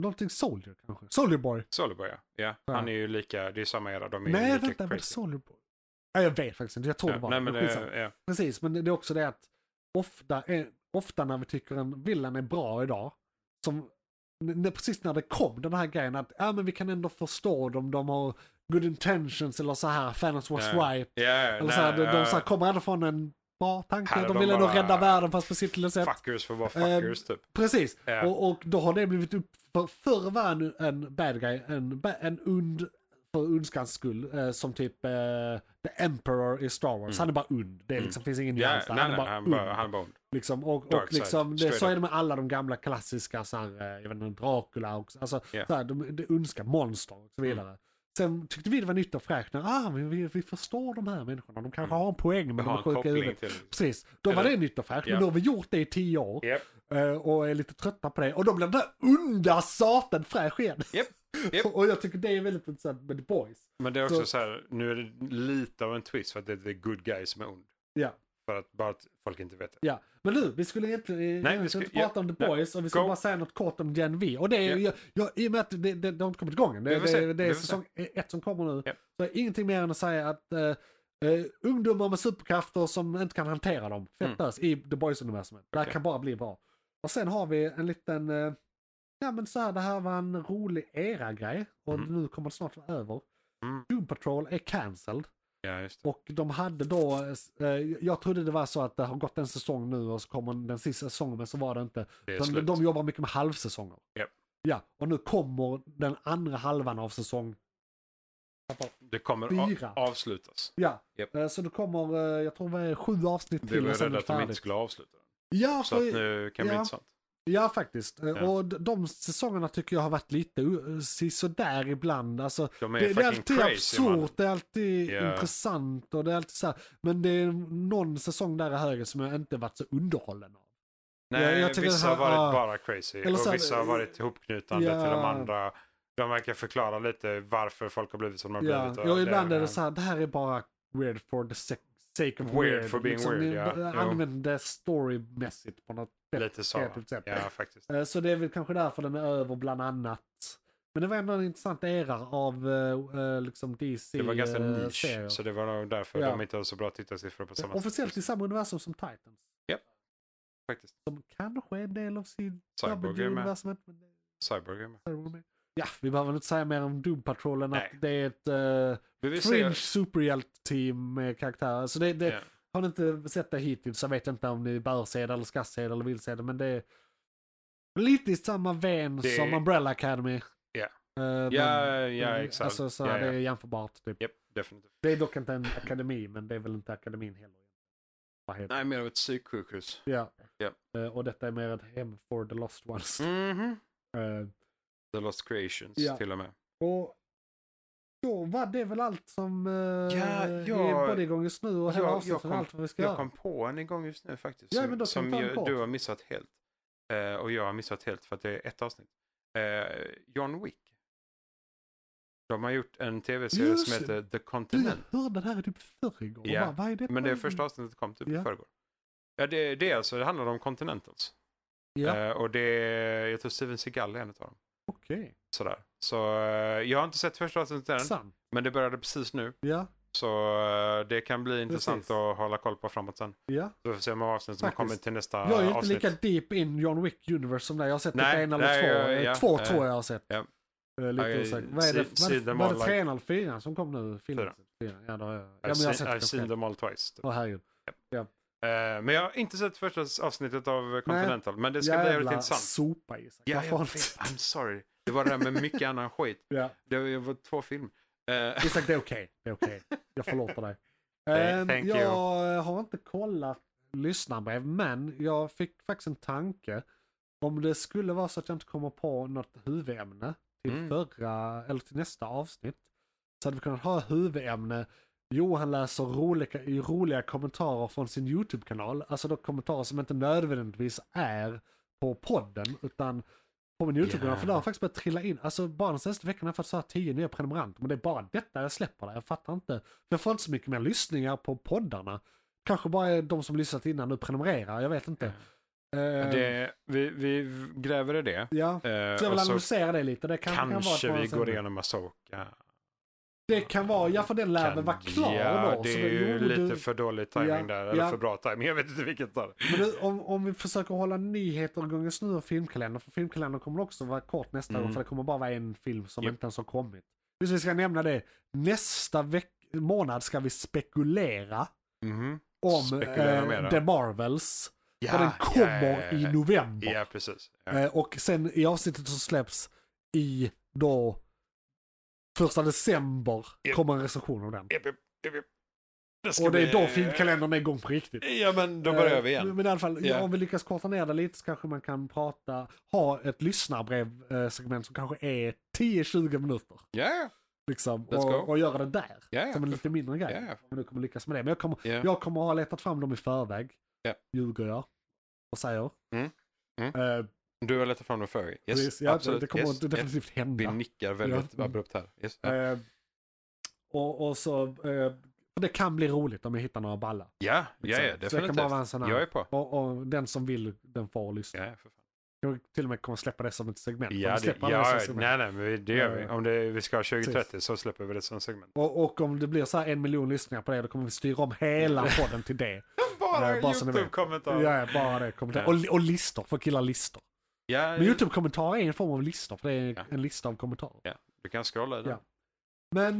S1: någonting Soldier kanske? Soldier Boy?
S2: Solibor ja. ja.
S1: Ja.
S2: Han är ju lika, det är samma era. De är ju
S1: Nej,
S2: lika
S1: vänta, var det
S2: crazy.
S1: Soldier Boy? Ja, jag vet faktiskt inte, jag tror
S2: Ja,
S1: det var
S2: nej, men,
S1: Skitsamma.
S2: det, ja.
S1: Precis, men det är också det att ofta, är, ofta när vi tycker en villan är bra idag, som när, precis när det kom den här grejen att ja men vi kan ändå förstå dem, de har good intentions eller så här, fans was
S2: Ja.
S1: right.
S2: Ja,
S1: Eller
S2: nej, eh,
S1: så här, de, de
S2: ja.
S1: så här, kommer ändå från en bra tanke,
S2: Här är
S1: de
S2: de
S1: vill ändå
S2: bara-
S1: rädda världen fast på sitt lilla sätt.
S2: Fuckers för att vara
S1: Ehm,
S2: fuckers typ.
S1: Precis,
S2: Ja.
S1: och, och då har det blivit upp, för, förr var en, en bad guy, en, ba- en und för ondskans skull, eh, som typ eh, The Emperor i Star Wars. Han är bara ond, det är liksom, finns ingen
S2: Mm. Ja,
S1: nyans där.
S2: nej,
S1: Han är
S2: nej,
S1: bara
S2: han
S1: ond.
S2: bara, han är bara ond.
S1: Liksom, och,
S2: Dark
S1: och
S2: side,
S1: liksom, det,
S2: straight
S1: så är
S2: up.
S1: det med alla de gamla klassiska, så här, eh, jag vet inte, Dracula och alltså,
S2: Ja. Mm.
S1: så här, de, de ondska monster och så vidare. Sen tyckte vi det var nytt och fräscht när ah, vi, vi, vi förstår de här människorna, de kanske har en poäng med de
S2: Mm. Har
S1: är
S2: en
S1: sjuka i
S2: koppling
S1: huvudet.
S2: till...
S1: Precis, då var
S2: Eller-
S1: det nytt och fräscht,
S2: Ja.
S1: men nu har vi gjort det i tio år
S2: Japp,
S1: eh, och är lite trötta på det. Och då blir den där onda satan fräsch igen.
S2: japp. Japp.
S1: och jag tycker det är väldigt intressant med The Boys.
S2: Men det är också
S1: Så-
S2: så, här, nu är det lite av en twist för att det är the good guy som är ond.
S1: Ja,
S2: För att bara att folk inte vet det.
S1: ja. Men nu, vi skulle egentligen eh, egentligen
S2: skulle-
S1: inte prata
S2: ja,
S1: om The
S2: nej.
S1: Boys och vi skulle
S2: Go.
S1: bara säga något kort om Gen V. Och det är,
S2: Ja.
S1: jag, jag, i och med att det, det, det har inte kommit igång än. Det,
S2: Vi får
S1: det,
S2: se,
S1: det,
S2: vi
S1: är
S2: får se.
S1: säsong ett som kommer nu.
S2: Ja.
S1: Så ingenting mer än att säga att eh, eh, ungdomar med superkrafter som inte kan hantera dem, fett
S2: Mm.
S1: lös i The Boys-universumet. Det här
S2: Okej.
S1: kan bara bli bra. Och sen har vi en liten, eh, ja men så här, det här var en rolig era-grej och
S2: Mm.
S1: nu kommer det snart vara över.
S2: Mm.
S1: Doom Patrol är cancelled.
S2: Ja, just det.
S1: Och de hade då, eh, jag trodde det var så att det har gått en säsong nu och så kommer den sista säsongen men så var det inte.
S2: Det är
S1: De,
S2: slut.
S1: de jobbar mycket med halvsäsonger.
S2: Japp.
S1: Ja, och nu kommer den andra halvan av säsong.
S2: det kommer
S1: fyra.
S2: a- avslutas.
S1: Ja,
S2: Japp.
S1: eh, så det kommer, eh, jag tror det är sju avsnitt
S2: Vi
S1: till
S2: var
S1: och sen är
S2: rädda
S1: det
S2: att de inte
S1: färdigt.
S2: skulle avsluta den.
S1: Ja,
S2: Så
S1: för,
S2: att nu kan det bli
S1: ja.
S2: intressant.
S1: ja, faktiskt. Eh,
S2: Ja.
S1: Och d- de säsongerna tycker jag har varit lite eh, sisådär ibland. Alltså,
S2: De är
S1: det, det är
S2: fucking
S1: alltid
S2: crazy mannen.
S1: absurt, det är alltid
S2: Ja.
S1: intressant och det är alltid så här. Men det är någon säsong där i höger som jag inte varit så underhållen av.
S2: Nej,
S1: Jag- jag tycker
S2: vissa
S1: det
S2: har
S1: här-
S2: varit
S1: ah.
S2: bara crazy
S1: Eller så här-
S2: och vissa har varit ihopknutande
S1: Ja.
S2: till de andra. De verkar förklara lite varför folk har blivit som de har
S1: Ja,
S2: blivit. och
S1: ja ibland
S2: det-
S1: är det så här, det här är bara weird for the sec- sake of weird.
S2: Weird for being weird, ja.
S1: eh,
S2: Jo.
S1: Använd det storymässigt på något bättre
S2: Lite så.
S1: kreativt sätt.
S2: Ja, faktiskt.
S1: Eh, Så det är väl kanske därför den är över bland annat. Men det var ändå en intressant era av eh, eh, liksom DC.
S2: Det var ganska
S1: eh,
S2: nisch,
S1: serier.
S2: så det var nog därför
S1: Ja.
S2: de inte hade så bra tittarsiffror på samma
S1: Officiellt i samma universum som Titans.
S2: faktiskt.
S1: Som kanske är en del av sin
S2: Cyborg är med.
S1: W-universumet. men det-
S2: Cyborg är med.
S1: Ja, vi behöver väl inte säga mer om Doom Patrol än att
S2: Nej.
S1: det är ett eh,
S2: Vi vill
S1: fringe
S2: se...
S1: superhjälte-team med karaktärer. Så det, det,
S2: Ja.
S1: Har ni inte sett det hittills så vet jag inte om ni bör se det eller ska se det eller vill se det. Men det är lite i samma ven
S2: Det-
S1: som Umbrella Academy.
S2: Ja.
S1: Eh,
S2: Ja,
S1: men-
S2: ja, exakt.
S1: Alltså så
S2: Ja,
S1: här,
S2: ja.
S1: det är jämförbart. Typ.
S2: Japp, definitivt.
S1: Det är dock inte en akademi, men det är väl inte akademin heller. Vad heter
S2: Nej, mer av ett psyksjukhus.
S1: det? Ja.
S2: Ja.
S1: Eh, och detta är mer ett hem for the lost ones.
S2: Mhm.
S1: Eh,
S2: The Lost Creations
S1: Ja.
S2: till och med.
S1: och då var det väl allt som eh,
S2: jag-
S1: är både igång just nu och hela
S2: jag-
S1: avsnittet
S2: jag
S1: och
S2: kom-
S1: allt vad vi ska
S2: Jag
S1: göra.
S2: kom på en igång just nu faktiskt.
S1: Ja,
S2: som
S1: men då kan
S2: som
S1: vi ta en
S2: jag-
S1: kort.
S2: du har missat helt. Eh, och jag har missat helt för att det är ett avsnitt. Eh, John Wick. De har gjort en tv-serie
S1: Just
S2: som
S1: det.
S2: heter The
S1: Du,
S2: Continent.
S1: jag hörde det här typ förr igår.
S2: Ja,
S1: Vad är det?
S2: Men det första avsnittet kom typ i
S1: Ja.
S2: förrgår. Ja, det, det, är alltså, det handlar om Continentals.
S1: Ja,
S2: Eh, och det är, jag tror Steven Seagal är en av dem.
S1: okej.
S2: Sådär. Så eh, jag har inte sett första avsnittet än,
S1: Sant.
S2: men det började precis nu.
S1: Ja,
S2: Så eh, det kan bli intressant
S1: Precis.
S2: att hålla koll på framåt sen.
S1: ja.
S2: Så vi får se hur många avsnitt som
S1: Faktiskt.
S2: har kommit till nästa
S1: Jag är ju inte
S2: avsnitt.
S1: lika deep in John Wick Universe som dig. Jag har sett
S2: Nej,
S1: typ en eller
S2: nej,
S1: två.
S2: ja,
S1: Eh,
S2: ja,
S1: två
S2: ja.
S1: tror jag har sett.
S2: Ja.
S1: Eh, Lite
S2: I-
S1: osäker. Vad är det?
S2: see- see
S1: Var,
S2: them
S1: var
S2: all
S1: det
S2: like-
S1: trean eller fyran som kom nu? Filmen?
S2: Fyran.
S1: Fyran, Ja, då har jag. Ja, men
S2: I've,
S1: jag har
S2: seen,
S1: sett
S2: I've
S1: det.
S2: seen them all twice. Typ.
S1: Åh herregud.
S2: Eh, men jag har inte sett första avsnittet av Continental. Men det ska bli jävligt
S1: Jävla
S2: intressant.
S1: sopa Isak.
S2: Ja,
S1: jag
S2: jag
S1: får
S2: vet.
S1: inte.
S2: I'm sorry. Det var det där med mycket annan skit.
S1: Ja.
S2: Det var, det var två filmer. Eh,
S1: Isak, det är okej. Det är okej. Jag förlåter dig.
S2: Hey,
S1: Ehm,
S2: thank you.
S1: jag har inte kollat lyssnarbrev, men jag fick faktiskt en tanke. Om det skulle vara så att jag inte kommer på något huvudämne till
S2: Mm.
S1: förra, eller till nästa avsnitt. Så hade vi kunnat ha huvudämne Johan läser roliga, i roliga kommentarer från sin YouTube-kanal. Alltså då kommentarer som inte nödvändigtvis är på podden utan på min YouTube-kanal.
S2: Ja.
S1: För där har faktiskt börjat trilla in. Alltså bara den senaste veckan har jag fått så här 10 nya prenumeranter. Men det är bara detta jag släpper där. Jag fattar inte. Jag får inte så mycket mer lyssningar på poddarna. Kanske bara är de som lyssnat innan nu prenumererar. Jag vet inte. Eh,
S2: det, vi, vi gräver i det.
S1: Ja,
S2: Eh,
S1: så jag vill
S2: och så
S1: analysera det lite. Det kan, kan vara ett
S2: kanske vi
S1: vansinnigt.
S2: går igenom Asoka.
S1: Det kan vara, ja för den lär väl vara klar
S2: ja,
S1: då.
S2: det
S1: så
S2: är ju
S1: jo,
S2: lite
S1: du-
S2: för dålig timing
S1: Ja,
S2: där. Eller
S1: ja.
S2: för bra timing. Jag vet inte vilket. Där.
S1: Men du, om, om vi försöker hålla nyheter igång just nu och filmkalendern, för filmkalendern kommer också vara kort nästa
S2: Mm.
S1: gång, för det kommer bara vara en film som
S2: Japp.
S1: inte ens har kommit. Just vi ska nämna det, nästa veck- månad ska vi spekulera
S2: Mhm.
S1: om
S2: Spekulera mera.
S1: eh, The Marvels.
S2: Ja,
S1: för den kommer
S2: ja, ja,
S1: i november.
S2: Ja, precis. Ja.
S1: Eh, och sen i avsnittet som släpps i då första december
S2: Japp.
S1: kommer en recension av den.
S2: Japp, japp, japp, japp. ska
S1: Och det är
S2: bli-
S1: då filmkalendern är igång på riktigt.
S2: Ja, men då börjar vi
S1: Eh,
S2: igen.
S1: Men i alla fall, ja,
S2: Ja.
S1: om vi lyckas korta ner det lite så kanske man kan prata, ha ett lyssnarbrev-segment som kanske är 10-20 minuter.
S2: Ja, ja.
S1: Liksom,
S2: Let's
S1: och,
S2: go.
S1: och göra det där.
S2: Ja, ja.
S1: Som en lite mindre grej.
S2: Ja, ja.
S1: Om du kommer lyckas med det. Men jag kommer,
S2: Ja.
S1: jag kommer ha letat fram dem i förväg.
S2: Ja.
S1: Ljuger jag. Och säger.
S2: Mm. Mm.
S1: Eh,
S2: Du har letat fram den för. Yes,
S1: precis, ja,
S2: absolut.
S1: Det kommer
S2: yes, yes.
S1: definitivt
S2: Vi
S1: hända.
S2: nickar väldigt
S1: Ja. Mm.
S2: abrupt här. Yes. Ja.
S1: Eh, och, och så, eh, och det kan bli roligt om jag hittar några balla.
S2: Ja, ja, ja,
S1: Så det kan
S2: definitivt.
S1: bara vara en sån här.
S2: Jag är på.
S1: Och, och den som vill, den får lyssna.
S2: Ja, för fan.
S1: Jag till och med kommer släppa det som ett segment. Kommer
S2: Ja, det,
S1: släppa det som
S2: ja,
S1: ett segment.
S2: nej, nej, men vi- det gör vi.
S1: Ja.
S2: Om det, vi ska ha
S1: Precis.
S2: 2030 så släpper vi det som segment.
S1: Och, och om det blir så här en miljon lyssningar på det, då kommer vi styra om hela podden till det.
S2: Bara
S1: Ja, bara så ni vet.
S2: YouTube-kommentarer. Ja,
S1: Ja, bara det. kommer det.
S2: Ja.
S1: Och, och listor, för killar listor.
S2: ja,
S1: Men YouTube-kommentarer är en form av listor, för det är
S2: Ja.
S1: en lista av kommentarer.
S2: ja, du kan scrolla i den.
S1: Ja. Men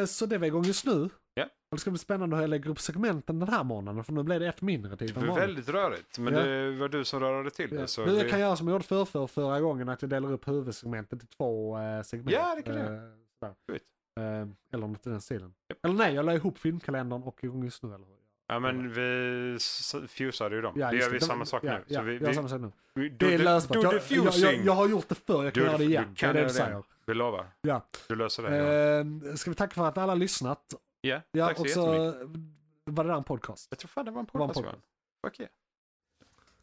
S1: eh, så det var igång just nu.
S2: Ja.
S1: Och det ska bli spännande hur jag lägger upp segmenten den här månaden, för nu blir det ett mindre
S2: Det
S1: typ än
S2: var
S1: vanligt.
S2: väldigt rörigt, men
S1: Ja.
S2: det var du som rörde till det. Så
S1: nu
S2: vi-
S1: jag kan göra som jag gjorde för, för förra gången, att jag delar upp huvudsegmentet i två eh, segment.
S2: Ja, det kan du
S1: Eh,
S2: göra.
S1: sådär.
S2: Skit.
S1: Eh, eller något i den stilen. Eller nej, jag la ihop filmkalendern och igång just nu. Eller hur?
S2: Ja, men vi s- fusade ju dem.
S1: Ja,
S2: det
S1: just
S2: gör vi
S1: De-
S2: samma sak
S1: ja,
S2: nu.
S1: Ja,
S2: så vi,
S1: vi gör
S2: vi,
S1: samma sak nu.
S2: vi,
S1: Det är
S2: do the-
S1: lösbart.
S2: do
S1: Jag,
S2: the
S1: jag, jag,
S2: fusing.
S1: jag har gjort det förr, jag kan
S2: Do
S1: göra
S2: the-
S1: det igen.
S2: du kan
S1: det är det du
S2: göra det
S1: säger.
S2: igen. Vi lovar.
S1: Ja.
S2: Du löser det. Johan.
S1: Eh, ska vi tacka för att alla har lyssnat.
S2: Ja,
S1: Ja,
S2: tack så
S1: och så
S2: jättemycket.
S1: var det där en podcast.
S2: Jag tror fan det var en
S1: var en
S2: podcast.
S1: podcast.
S2: Johan. Fuck yeah.